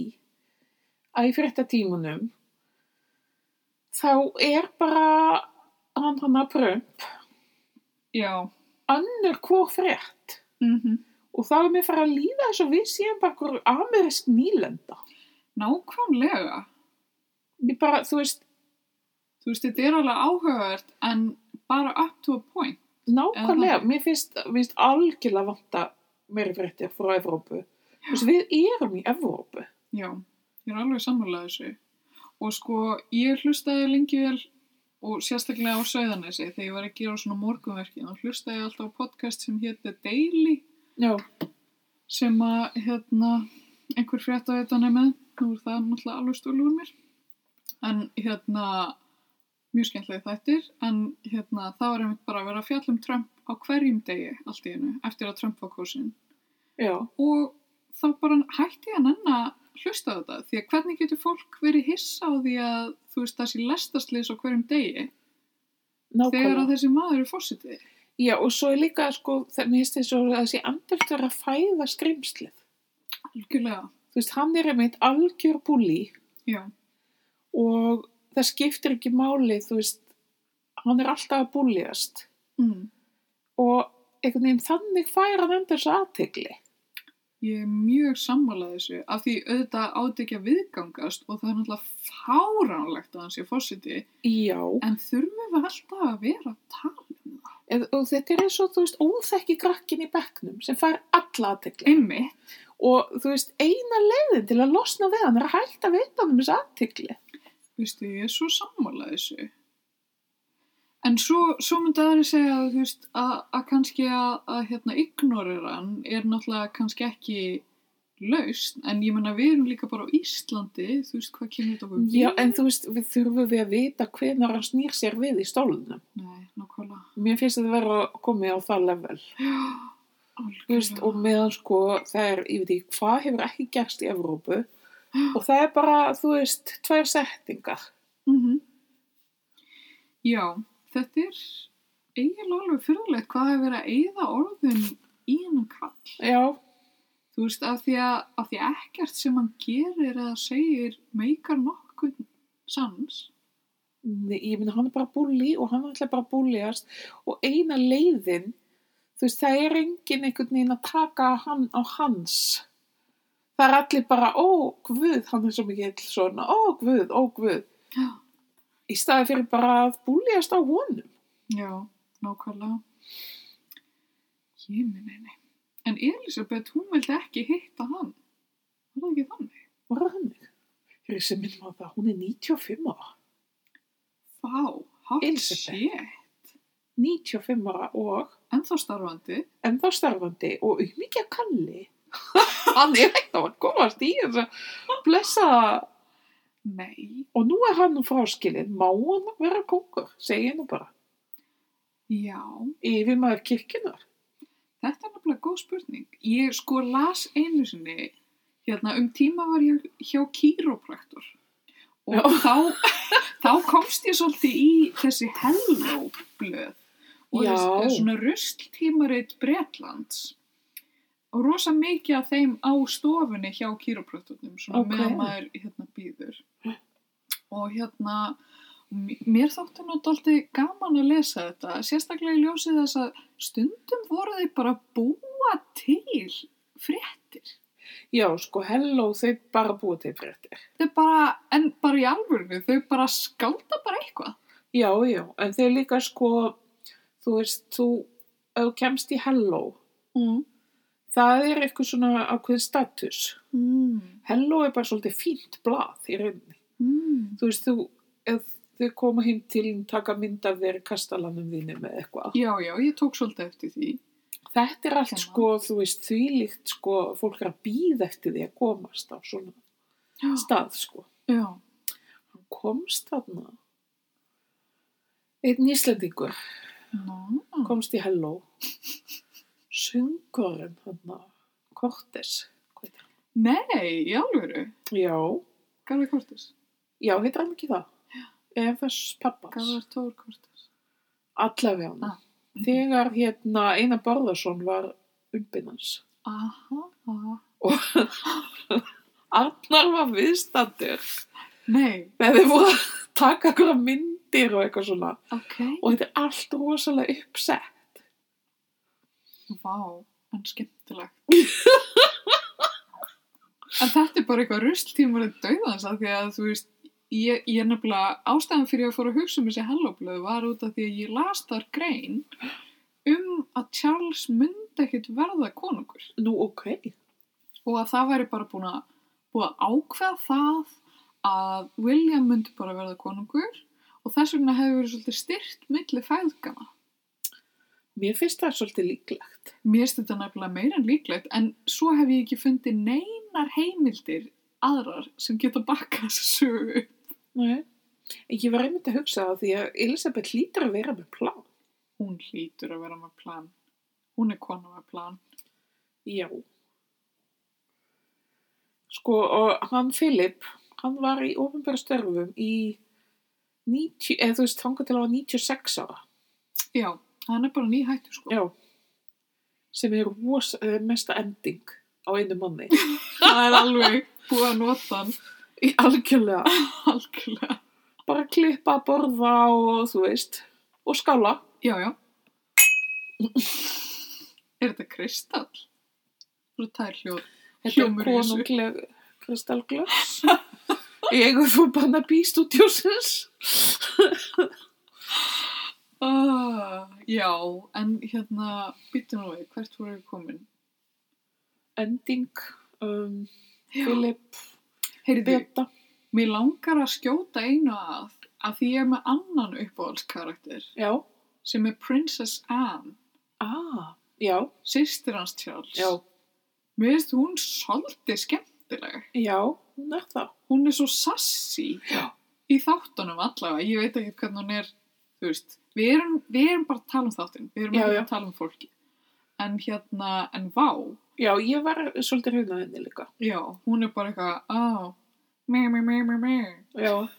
Speaker 1: að í fréttatímunum þá er bara hann hann að prömp
Speaker 2: Já,
Speaker 1: önnur hvor frétt
Speaker 2: mm
Speaker 1: og þá er mér farið að líða eins og við séum bara hver amerisk nýlenda
Speaker 2: nákvæmlega.
Speaker 1: ég bara, þú veist,
Speaker 2: Þú veist, þetta er alveg áhugavert en bara up to a point.
Speaker 1: nákvæmlega mér finnst, mér finnst algjörlega vanta meiri fréttir frá Evrópu þú veist, við erum í Evrópu
Speaker 2: Já, ég er alveg sammálaðið þessu. Og sko, ég hlustaði lengi vel og sérstaklega á Söðanesi þegar ég var að gera svona morgunverki. Þá hlustaði ég alltaf á podcast sem hétt The Daily
Speaker 1: já,
Speaker 2: sem að hérna, einhver frétt á þetta nefnið, nú er það náttúrulega alveg stúlu úr mér, en hérna, mjög skemmtilega þættir, en hérna, það var einmitt bara að vera að fjalla um Trump á hverjum degi allt í hennu, eftir að Trump var kosin.
Speaker 1: já,
Speaker 2: Og þá bara hætti ég að nanna hlusta á þetta, því að hvernig getur fólk verið hissa á því að, þú veist, það sé lestaslis á hverjum degi, þegar
Speaker 1: nákvæmlega
Speaker 2: að þessi maður er fósitið.
Speaker 1: já, og svo er líka, sko, það, mér finnst þess að þessi andelt vera að fæða skrimslið
Speaker 2: Algjörlega,
Speaker 1: þú veist, hann er einmitt algjör búli
Speaker 2: já,
Speaker 1: og það skiptir ekki máli, þú veist, hann er alltaf að búliast
Speaker 2: mm.
Speaker 1: og einhvern veginn þannig fær hann um endur þessu aðtegli.
Speaker 2: Ég er mjög sammálað þessu af því auðvitað átt ekki að viðgangast og það er náttúrulega fáránlegt að hann sé fósiti
Speaker 1: Já,
Speaker 2: en þurfum við alltaf að vera að tala um það.
Speaker 1: eð, og þetta er eins og, þú veist, óþekki krakkin í bekknum sem fær alla aðtegli.
Speaker 2: Einmitt,
Speaker 1: Og, þú veist, eina leiðin til að losna við hann er að hætta að veita hann um þessu aðtegli.
Speaker 2: veistu, ég er svo sammálað þessu. En svo, svo myndi aðri segja þú veist, að, að kannski að, að hérna, ignorera hann er náttúrulega kannski ekki lausn en ég menna við erum líka bara á Íslandi þú veist hvað kemur þetta okkur
Speaker 1: Já, en þú veist, við þurfum við að vita hvenar hann snýr sér við í stólunum.
Speaker 2: Nei, nákvæmlega.
Speaker 1: Mér finnst þetta vera komið á það level. Þú veist, og meðan sko það er, ég veit ekki, hvað hefur ekki gerst í Evrópu og það er bara, þú veist, tvær settingar.
Speaker 2: Mm Já, þetta er eiginlega alveg fyrirlegt hvað er verið að eyða orðum í hennan kall.
Speaker 1: Já,
Speaker 2: Þú veist, af því að, af því að ekkert sem hann gerir eða segir meikar nokkuð sans.
Speaker 1: Nei, ég meina hann er bara búli og hann ætla bara að búliast og eina leiðin, þú veist, það er engin einhvern veginn að taka hann á hans. Það er allir bara, ó, guð, hann er svo mikið svona, ó, guð, ó, guð.
Speaker 2: Já.
Speaker 1: Í staði fyrir bara að búliast á honum.
Speaker 2: Já, nákvæmlega. Ég minn henni. En Elisabeth, hún vildi ekki hitta hann. Var það ekki þannig?
Speaker 1: Var það þannig? Hér er sem minnum á það, hún er 95 ára.
Speaker 2: Vá, hátt
Speaker 1: Elísabet.
Speaker 2: sé.
Speaker 1: 95 ára og
Speaker 2: En þá starfandi.
Speaker 1: en þá starfandi og umíkja kalli hann er ekkert að komast í þess að blessa
Speaker 2: Nei.
Speaker 1: og nú er hann nú fráskilin má hann vera kókur, segi ég nú bara
Speaker 2: Já.
Speaker 1: yfir maður kirkjunar
Speaker 2: Þetta er nefnilega góð spurning. Ég sko las einu sinni, hérna um tíma var ég hjá kýrópraktor og þá, þá komst ég svolítið í þessi hellóblöð og
Speaker 1: Já.
Speaker 2: þessi svona rusltímarit Bretlands og rosa mikið af þeim á stofunni hjá kýrópraktornum svona
Speaker 1: Ok.
Speaker 2: meðan maður hérna býður og hérna mér þótti nú alltaf gaman að lesa þetta sérstaklega í ljósið þess að stundum voru þeir bara að búa til fréttir.
Speaker 1: já sko, hello, þau bara búið til fréttir
Speaker 2: Þau bara, en bara í alvörinu, þau bara skálda bara eitthvað.
Speaker 1: Já, já, en þeir líka sko, þú veist, þú, ef þú kemst í Hello,
Speaker 2: Mm.
Speaker 1: það er eitthvað svona ákveðin status.
Speaker 2: Mm.
Speaker 1: Hello er bara svolítið fínt blað í rauninni.
Speaker 2: Mm.
Speaker 1: Þú veist, þú, ef þau koma heim til þín, taka mynd af þeir kastalanum þínum eða eitthvað.
Speaker 2: Já, já, ég tók svolítið eftir því.
Speaker 1: Þetta er allt
Speaker 2: Kemma.
Speaker 1: sko, þú veist, þvílíkt sko, fólk er að býða eftir því að komast á svona
Speaker 2: Já.
Speaker 1: stað sko.
Speaker 2: Já.
Speaker 1: Hann komst þarna, einn íslendingur,
Speaker 2: Ná.
Speaker 1: komst í Hello söngurinn hann Kortes hvað heitir hann?
Speaker 2: Nei, í alvöru.
Speaker 1: já,
Speaker 2: Garðar Kortis.
Speaker 1: já, heitir hann ekki það EFS pappans
Speaker 2: Garðar Tór Kortis.
Speaker 1: allavega hann
Speaker 2: Ah.
Speaker 1: þegar hérna Einar Bárðarsson var umbinnans
Speaker 2: Aha. aha.
Speaker 1: Arnar var viðstandur
Speaker 2: Nei,
Speaker 1: þegar þið voru að taka einhverja myndir og eitthvað svona
Speaker 2: ok.
Speaker 1: og þetta er allt rosalega uppsett
Speaker 2: Vá, en skemmtilegt. en þetta er bara eitthvað rusltímur en dauðans af því að þú veist, ég, ég er nefnilega ástæðan fyrir að fóra að hugsa um þessi hellóblöð var út af því að ég las þar grein um að Charles myndi ekkit verða konungur
Speaker 1: nú ok,
Speaker 2: og að það væri bara búin að, búin að ákveða það að William myndi bara verða konungur og þess vegna hefur verið svolítið styrt milli fæðgama.
Speaker 1: mér finnst það svolítið líklegt
Speaker 2: Mér finnst þetta nefnilega meira en líklegt en svo hef ég ekki fundið neinar heimildir aðrar sem geta bakkað þessu sögu.
Speaker 1: Nei. En ég var einmitt að hugsa það því að Elisabeth hlýtur að vera með plán
Speaker 2: Hún hlýtur að vera með plan. Hún er kona með plan.
Speaker 1: Já. Sko, og hann Filip, hann var í ofinbæra störfum í 90, eða þú veist, þangað til að hann var 96 ára.
Speaker 2: Já, hann er bara nýhættu sko.
Speaker 1: Já. Sem er vos, eh, mesta ending á einu manni.
Speaker 2: Það er alveg búið að nota hann
Speaker 1: í algjörlega.
Speaker 2: algjörlega.
Speaker 1: Bara klippa, borða og þú veist, og skála.
Speaker 2: Já, já. Er þetta kristall? Þú tær hljóð.
Speaker 1: Þetta
Speaker 2: Hljómur
Speaker 1: er
Speaker 2: í þessu.
Speaker 1: konungleg kristallglöss. Ég eigum þú banna bístúdjósins.
Speaker 2: Ah, já, en hérna, býttu nú við, hvert voru við komin?
Speaker 1: Ending, um,
Speaker 2: Já.
Speaker 1: Filip,
Speaker 2: Heyrðu,
Speaker 1: Beta.
Speaker 2: Mér langar að skjóta einu að að því ég er með annan uppáhaldskarakter
Speaker 1: Já.
Speaker 2: sem er Princess Anne,
Speaker 1: Ah, já,
Speaker 2: sýstir hans Charles.
Speaker 1: já,
Speaker 2: Mér finnst hún svolítið skemmtileg.
Speaker 1: já, hún er það.
Speaker 2: Hún er svo sassi
Speaker 1: Já.
Speaker 2: í þáttunum allavega. Ég veit ekki hvernig hún er, þú veist, við erum, við erum bara að tala um þáttin, við erum
Speaker 1: Já,
Speaker 2: ekki
Speaker 1: já.
Speaker 2: að tala um fólki. En hérna, en vá,
Speaker 1: Já, ég var svolítið hrifnað henni líka.
Speaker 2: já, hún er bara eitthvað, á, meh, meh, meh, meh, meh,
Speaker 1: Já, hún,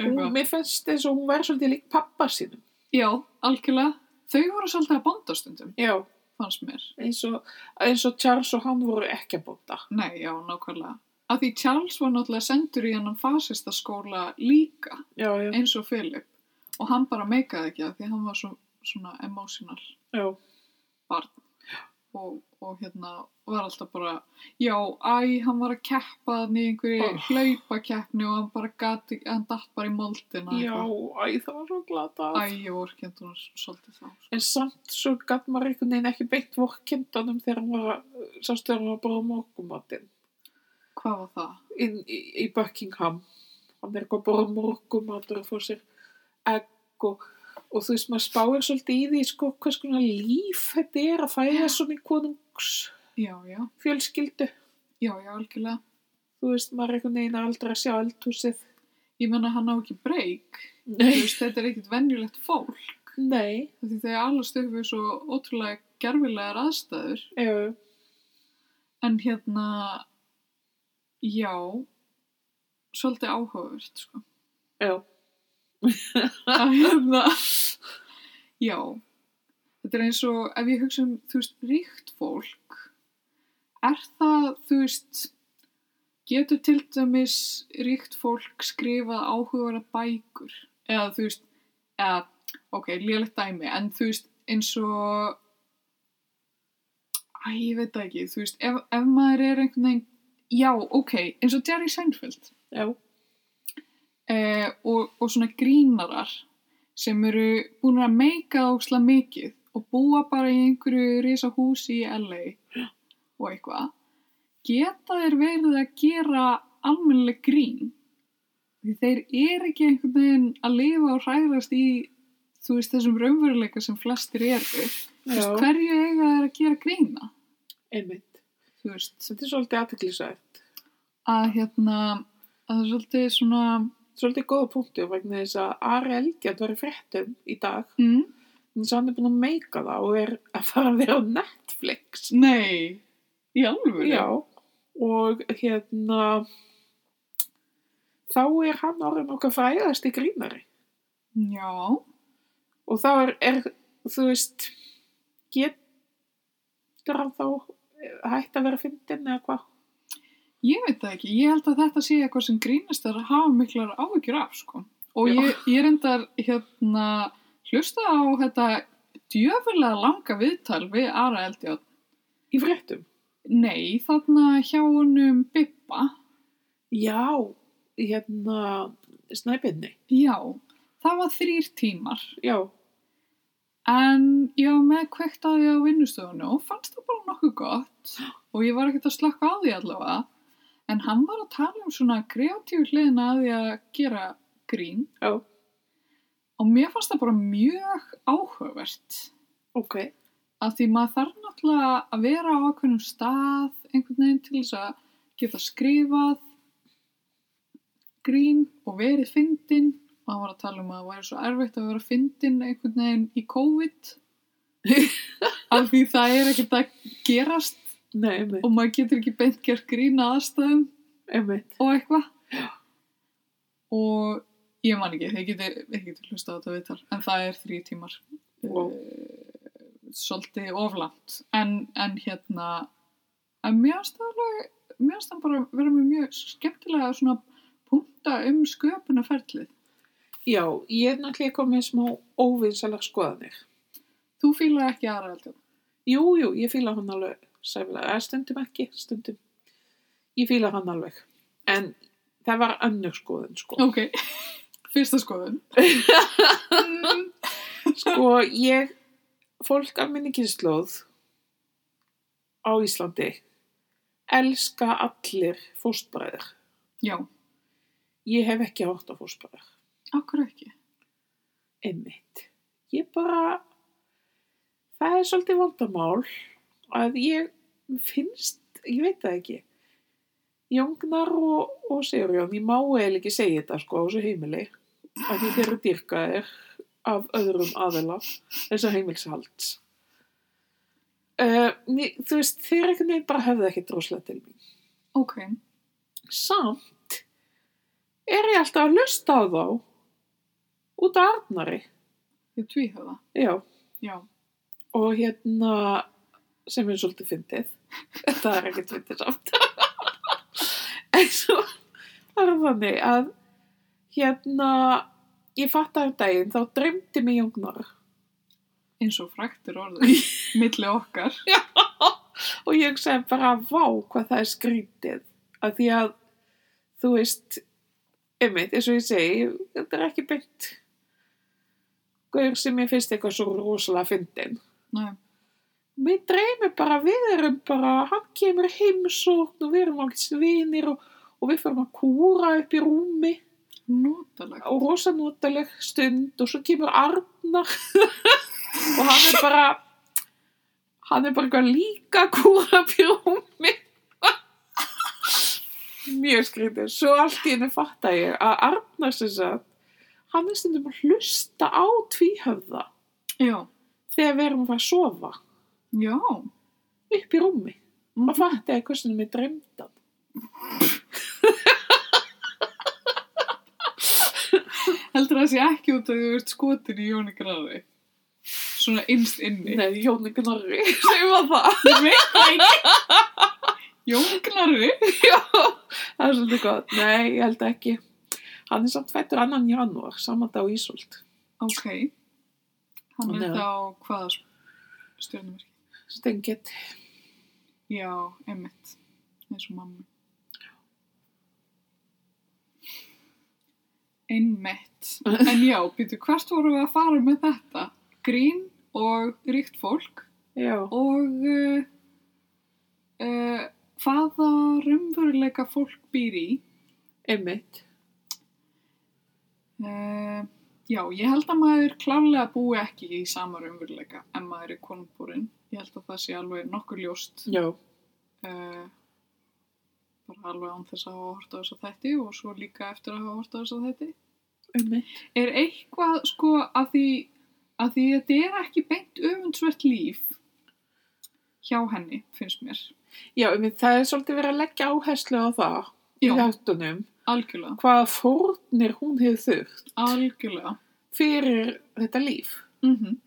Speaker 2: eitthvað.
Speaker 1: mér fannst eins og hún var svolítið lík pappa sínum.
Speaker 2: Já, algjörlega, þau voru svolítið að banda stundum,
Speaker 1: Já,
Speaker 2: fannst mér.
Speaker 1: eins og, eins og Charles og hann voru ekki að bóta.
Speaker 2: Nei, já, nákvæmlega. Af því Charles var náttúrulega sendur í hennan fasista skóla líka,
Speaker 1: Já, já,
Speaker 2: eins og Philip. Og hann bara meikaði ekki að því hann var svo, svona emotional
Speaker 1: já,
Speaker 2: barn. Og, og hérna var alltaf bara, já, æ, hann var að keppa hann í einhverju
Speaker 1: Oh.
Speaker 2: hlaupakeppni og hann bara gati, hann datt bara í moldina.
Speaker 1: já, æ, það var svo glata.
Speaker 2: Æ, ég vorkend hún svolítið þá. sko.
Speaker 1: En samt svo gatt maður einhvern veginn ekki beint vorkindunum þegar hann var, að- sástu þegar hann var bara á morgumatinn
Speaker 2: Hvað var það?
Speaker 1: inn í, í Buckingham. Hann er eitthvað bara morgumatur og fór sér egg og, og þú veist, maður spáir svolítið í því sko, hvers konar líf þetta er að fæða svona í konungsfjölskyldu.
Speaker 2: Já, já, já, já, algjörlega.
Speaker 1: Þú veist, maður er einhvern veginn aldrei að sjá eldhúsið.
Speaker 2: Ég menna hann á ekki breyk. Þú
Speaker 1: Nei,
Speaker 2: veist, þetta er ekkit venjulegt fólk.
Speaker 1: nei,
Speaker 2: Af því þau allast upp við svo ótrúlega gerfilegar aðstæður
Speaker 1: já,
Speaker 2: en hérna já svolítið áhugavert sko.
Speaker 1: já,
Speaker 2: að hérna já þetta er eins og ef ég hugsa um þú veist ríkt fólk er það þú veist getur til dæmis ríkt fólk skrifað áhugavera bækur eða þú veist eða, ok, lélegt dæmi en þú veist eins og æ, ég veit það ekki þú veist, ef, ef maður er einhvern veginn já, ok, eins og Jerry Seinfeld
Speaker 1: já,
Speaker 2: eh, og, og svona grínarar sem eru búin að meika óksla mikið og búa bara í einhverju risa húsi í LA og eitthvað geta þeir verið að gera almennileg grín því þeir eru ekki einhvern veginn að lifa og hræðast í þú veist þessum raunveruleika sem flestir eru
Speaker 1: Já,
Speaker 2: hverju eiga þeir að gera grína
Speaker 1: einmitt.
Speaker 2: þú veist
Speaker 1: Þetta er svolítið aðteklisætt.
Speaker 2: að hérna að það er svolítið svona
Speaker 1: Svolítið góða punktu vegna þess að Ari Eldjátt var í fréttum í dag.
Speaker 2: mm,
Speaker 1: En svo hann er búin að meika það og er að fara að vera á Netflix.
Speaker 2: nei, í alvöru
Speaker 1: Já, og hérna, þá er hann orðin okkar fræðast í grínari.
Speaker 2: já
Speaker 1: Og þá er, er þú veist, getur hann þá eh, hætt að vera fyndin eða hvað?
Speaker 2: Ég veit það ekki, ég held að þetta sé eitthvað sem grínastar hafa miklar áhyggjur af, sko. Og
Speaker 1: Já.
Speaker 2: ég, ég reyndar, hérna, hlusta á þetta djöfulega langa viðtal við Ara Eldjátt.
Speaker 1: Í fréttum?
Speaker 2: Nei, þarna hjá honum Bippa,
Speaker 1: Já, hérna, snæbinni.
Speaker 2: já, það var þrýr tímar.
Speaker 1: Já,
Speaker 2: En ég var með kveikt að því á vinnustöðunni og fannst það bara nokkuð gott og ég var ekkert að slakka á því allavega. En hann var að tala um svona kreatív hliðina að því að gera grín.
Speaker 1: já,
Speaker 2: Og mér fannst það bara mjög áhugavert
Speaker 1: ok.
Speaker 2: að því maður þarf náttúrulega að vera á ákveðnum stað einhvern veginn til þess að geta skrifað grín og verið fyndin. Maður var að tala um að það væri svo erfitt að vera fyndin einhvern veginn í COVID af því það er ekkert að gerast
Speaker 1: Nei, einmitt,
Speaker 2: og maður getur ekki beint gert grín að aðstæðum
Speaker 1: einmitt.
Speaker 2: og eitthvað og ég man ekki, þið getur, þið getur hlusta á þetta viðtal en það er þrý tímar
Speaker 1: Vá.
Speaker 2: Eh, svolítið oflant en, en hérna en mér finnst það alveg- mér finnst það bara vera með mjög skemmtilega svona punkta um sköpunarferlið
Speaker 1: Já, ég er náttúrulega komið smá óvinnselar skoðanir.
Speaker 2: þú fýlar ekki aðra heldur
Speaker 1: Jú, jú, ég fíla hann alveg sæfilega, eða stundum ekki, stundum. Ég fíla hann alveg. En það var önnur skoðun, sko.
Speaker 2: ok, fyrsta skoðun Mm,
Speaker 1: Sko, ég, fólk af minni kynnslóð á Íslandi elska allir fóstbræðir.
Speaker 2: já,
Speaker 1: Ég hef ekki hótt á fóstbræðir.
Speaker 2: okkur ekki
Speaker 1: Einmitt. Ég bara, það er svolítið vandamál að ég finnst, ég veit það ekki, Jóngnar og, og Sigurjón, ég má eða ekki segja þetta sko á þessu heimili, að því þeir eru dyrkaðir af öðrum aðela þessu heimilshalds. Uh, mér, þú veist, þeir einhvern veginn bara hefði ekki droslega til mín.
Speaker 2: ok,
Speaker 1: Samt er ég alltaf að lusta á þá út af Arnari.
Speaker 2: ég tvíð það
Speaker 1: Já.
Speaker 2: já,
Speaker 1: og hérna sem er svolítið fyndið það er ekkert fyndið samt en svo var það þannig að hérna ég fattaði um daginn þá dreymdi mig jungnar
Speaker 2: eins og fræktir orðið milli okkar
Speaker 1: og ég hugsaði bara vá hvað það er skrítið að því að þú veist einmitt eins og ég segi þetta er ekki beint gaur sem ég finnst eitthvað svo rosalega fyndin
Speaker 2: Nei.
Speaker 1: Mér dreymir bara, við erum bara, hann kemur í heimsókn og við erum alveg svinir og, og við fyrir að kúra upp í rúmi
Speaker 2: Nótalegt.
Speaker 1: og rosa notaleg stund og svo kemur Arnar og hann er bara, hann er bara eitthvað líka að kúra upp í rúmi. Mjög skrítið. Svo allt í henni fatta ég að Arnar sem sagt, hann er stundum að hlusta á tvíhöfða
Speaker 2: Já.
Speaker 1: þegar við erum að fara að sofa
Speaker 2: Já.
Speaker 1: upp í rúmi.
Speaker 2: Mm.
Speaker 1: og fattaði hversu mér dreymdan.
Speaker 2: Heldur það sé ekki út að þú ert skotin í Jóni Grafi. Svona innst inni.
Speaker 1: Nei, Jóni Gnarri, sem var það.
Speaker 2: Ég veit það ekki. Jóni Grafi?
Speaker 1: Já, það er svolítið gott. Nei, ég held ekki. Hann er samt fættur annan janúar, saman dag í Ísöld.
Speaker 2: Ok. Hann
Speaker 1: Nei.
Speaker 2: er þá hvaða stjórnumarki?
Speaker 1: Stengið.
Speaker 2: Já, Emmett. Eins og mamma. Einmitt. En já, býtu, hvert vorum við að fara með þetta? Grín og ríkt fólk
Speaker 1: Já,
Speaker 2: og uh, uh, hvaða raunveruleika fólk býr í?
Speaker 1: einmitt.
Speaker 2: Uh, já, ég held að maður klárlega búi ekki í sama raunveruleika en maður er konbúrin. Ég held að það sé alveg nokkur ljóst.
Speaker 1: Já,
Speaker 2: Uh, bara alveg án þess að hafa horta þess að þetta og svo líka eftir að hafa horta þess að þetta.
Speaker 1: einmitt.
Speaker 2: er eitthvað sko að því að því þetta er ekki beint öfundsvert líf hjá henni, finnst mér.
Speaker 1: Já, einmitt. Það er svolítið verið að leggja áherslu á það í
Speaker 2: Já.
Speaker 1: þáttunum.
Speaker 2: Algjörlega,
Speaker 1: Hvaða fórnir hún hefur þurft
Speaker 2: algjörlega.
Speaker 1: fyrir þetta líf.
Speaker 2: Mm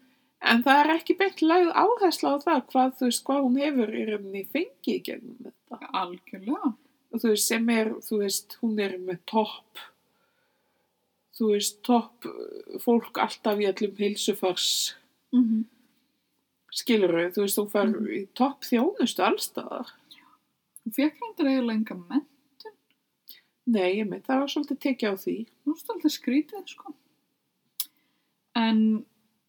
Speaker 1: En það er ekki beint lögð áhersla á það hvað, þú veist, hvað hún hefur í rauninni fengið í gegnum þetta.
Speaker 2: Algjörlega,
Speaker 1: Og þú veist, sem er, þú veist, hún er með topp, þú veist, topp uh, fólk alltaf í allum heilsufars
Speaker 2: mm
Speaker 1: skiluru. Þú veist, hún fær
Speaker 2: Mhm.
Speaker 1: í topp þjónustu allstaðar.
Speaker 2: Hún fekk hendur eiginlega enga menn.
Speaker 1: Nei, ég það var svolítið tekið á því.
Speaker 2: Nú stoltið skrítið, sko. En,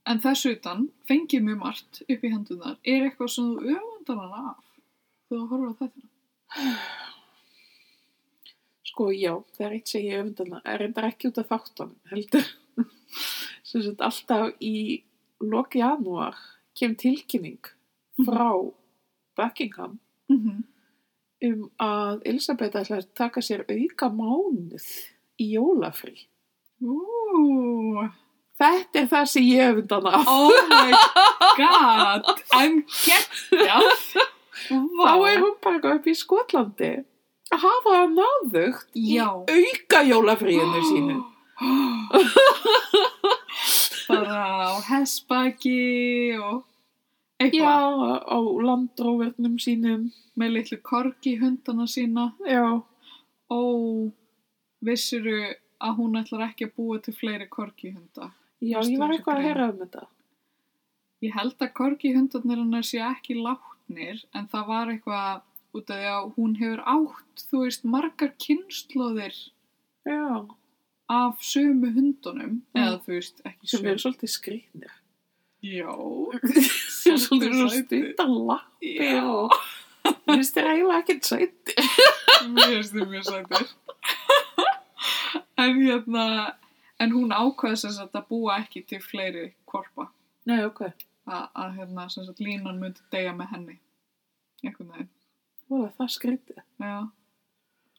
Speaker 2: en þess utan fengið mjög margt upp í hendunar. Er eitthvað sem þú öfundar hana af? Þú horfir á þetta.
Speaker 1: Sko, já, það er eitt sem ég öfndana. Það er reyndar ekki út af þáttunum, heldur. Svo sett alltaf í loki janúar kem tilkynning frá Buckingham
Speaker 2: Mm -hmm.
Speaker 1: um að Elisabeth ætlar að taka sér auka mánuð í jólafrí.
Speaker 2: Úúúú.
Speaker 1: Þetta er það sem ég öfndana af.
Speaker 2: Oh my god, I'm getting
Speaker 1: Þá er hún bara eitthvað upp í Skotlandi að hafa það náðugt í
Speaker 2: Já.
Speaker 1: auka jólafríinu sínu.
Speaker 2: Bara á hessbaki og
Speaker 1: Já,
Speaker 2: eitthvað
Speaker 1: á landróvernum sínum.
Speaker 2: með litlu korgi hundana sína
Speaker 1: Já,
Speaker 2: og vissiru að hún ætlar ekki að búa til fleiri korgi hunda.
Speaker 1: já
Speaker 2: Varstu
Speaker 1: ég var
Speaker 2: þessu
Speaker 1: eitthvað að
Speaker 2: grein?
Speaker 1: heyra um þetta.
Speaker 2: Ég held að korgi hundarnir hennar sé ekki látnir en það var eitthvað út af því að hún hefur átt, þú veist, margar kynnslóðir
Speaker 1: Já,
Speaker 2: af sömu hundunum
Speaker 1: Mm.
Speaker 2: eða þú veist, ekki
Speaker 1: sem
Speaker 2: sömu
Speaker 1: eru svolítið skrýtnir.
Speaker 2: Já,
Speaker 1: Sem eru svolítið
Speaker 2: Svolítið
Speaker 1: svo
Speaker 2: sætir.
Speaker 1: stundar lappi
Speaker 2: já,
Speaker 1: og mér finnst þér eiginlega ekkert sætt.
Speaker 2: mér finnst þið mjög sætir. en hérna, en hún ákvaði sem sagt að búa ekki til fleiri korpa.
Speaker 1: Nei, ok.
Speaker 2: A- Að hérna, sem sagt, línan myndi deyja með henni. Einhvern veginn,
Speaker 1: Vóða, það skrýtið.
Speaker 2: já.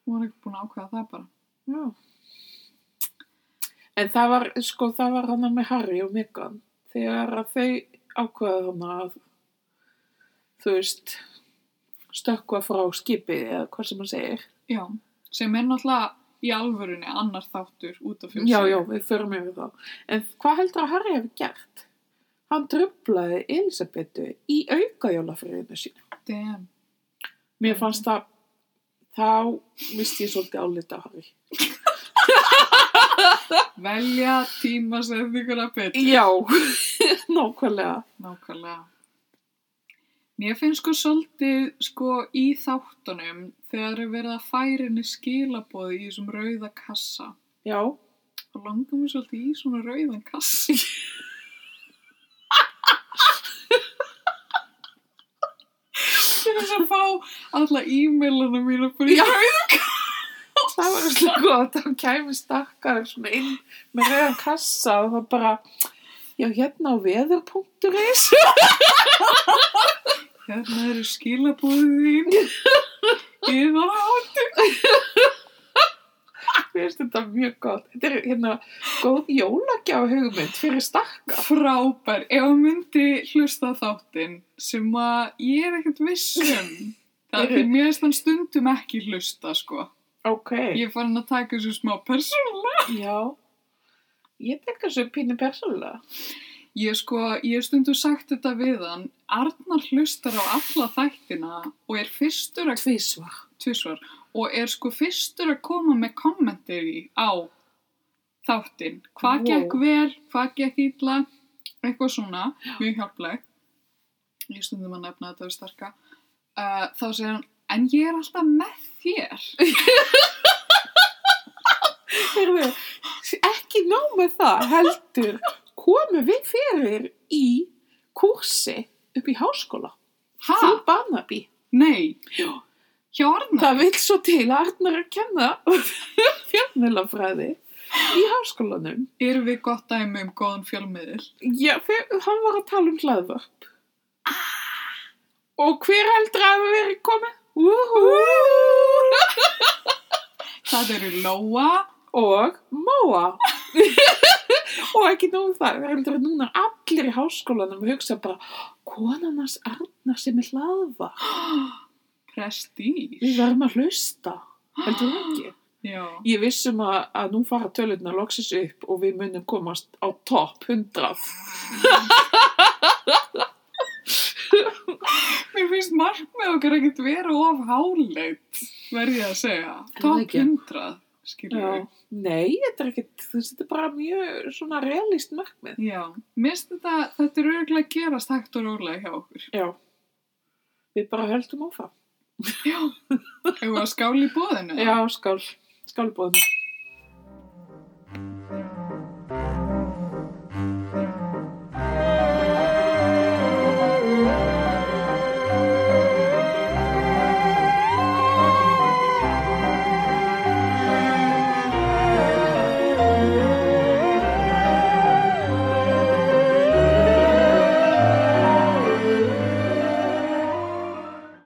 Speaker 2: Hún var ekki búin að ákvaða það bara.
Speaker 1: Já. En það var, sko, það var hana með Harry og Megan. Þegar að þau ákvaða hana að, þú veist, stökkva frá skipi eða hvað sem hann segir.
Speaker 2: Já, sem er náttúrulega í alvörunni annar þáttur út af fyrir
Speaker 1: Já,
Speaker 2: sig.
Speaker 1: já, við förum yfir þá. En hvað heldur að Harry hefur gert? Hann trublaði Elisabetu í aukajólafriðinu sínu.
Speaker 2: Damn.
Speaker 1: Mér fannst það, þá misti ég svolítið álita á Harry.
Speaker 2: Velja tíma sem þykir að betra.
Speaker 1: Já, nákvæmlega.
Speaker 2: Nákvæmlega. Mér finnst sko svolítið sko í þáttunum þegar er verið að færa henni skilaboð í þessum rauða kassa.
Speaker 1: Já,
Speaker 2: Þá langar mér svolítið í svona rauðan kassa. Til þess að fá alla e-mailana mína bara í
Speaker 1: Já.
Speaker 2: rauðan
Speaker 1: það var svolítið gott. Þá kæmi stakkar svona inn með rauðan kassa og það bara, já, hérna á veður.is.
Speaker 2: Hérna eru skilabóðið þín. Ég var án.
Speaker 1: Mér finnst þetta mjög gott. Þetta er hérna góð jólagjá hugmynd fyrir stakkar.
Speaker 2: Frábær. Ef að myndi hlusta á þáttinn sem að ég er ekkert viss um. Það er því mér finnst hann stundum ekki hlusta, sko.
Speaker 1: Ok.
Speaker 2: Ég er farin að taka þessu smá persónulega.
Speaker 1: Já, ég tek þessu pínu persónulega.
Speaker 2: Ég sko, ég hef stundum sagt þetta við hann. Arnar hlustar á alla þættina og er fyrstur að,
Speaker 1: Tvísvar.
Speaker 2: tvisvar, og er sko fyrstur að koma með kommentari á þáttinn. Hvað
Speaker 1: Vó.
Speaker 2: gekk vel, hvað gekk illa, eitthvað svona, mjög hjálpleg. Ég stundum að nefna þetta við starka. Uh, þá segir hann, en ég er alltaf með þér.
Speaker 1: Heyrðu, ekki nóg með það heldur komum við fyrir í kursi upp í háskóla
Speaker 2: Hæ?
Speaker 1: frú Barnaby
Speaker 2: Nei. Hjá Arnar?
Speaker 1: það vil svo til að Arnar er að kenna fjölmjölafræði í háskólanum
Speaker 2: Erum við gott dæmi um góðan fjölmiðil?
Speaker 1: Já, fyr, hann var að tala um hlaðvörp og hver heldur að hafa verið komið? Úhú!
Speaker 2: Það eru Lóa.
Speaker 1: og Móa og ekki nóg með það heldur að núna allir í háskólanum hugsa bara, konan hans Arnar sem er hlaðvarp
Speaker 2: Prestige.
Speaker 1: Við verðum að hlusta, heldur þú ekki?
Speaker 2: Já.
Speaker 1: Ég vissum að, að nú fara tölunar loksis upp og við munum komast á topp 100.
Speaker 2: Mér finnst markmið okkar ekkert vera of háleit, verði ég að segja.
Speaker 1: það
Speaker 2: Top
Speaker 1: ekki?
Speaker 2: 100, skiljum
Speaker 1: Já.
Speaker 2: við.
Speaker 1: Nei, þetta er ekkert, þú veist, þetta er bara mjög svona realist markmið.
Speaker 2: Já. Mér finnst þetta, þetta er örgulega að gerast hægt og rólega hjá okkur.
Speaker 1: Já. Við bara höldum áfram.
Speaker 2: Já. Hefur að skála í bóðinu?
Speaker 1: Já, skál, skálbóðum.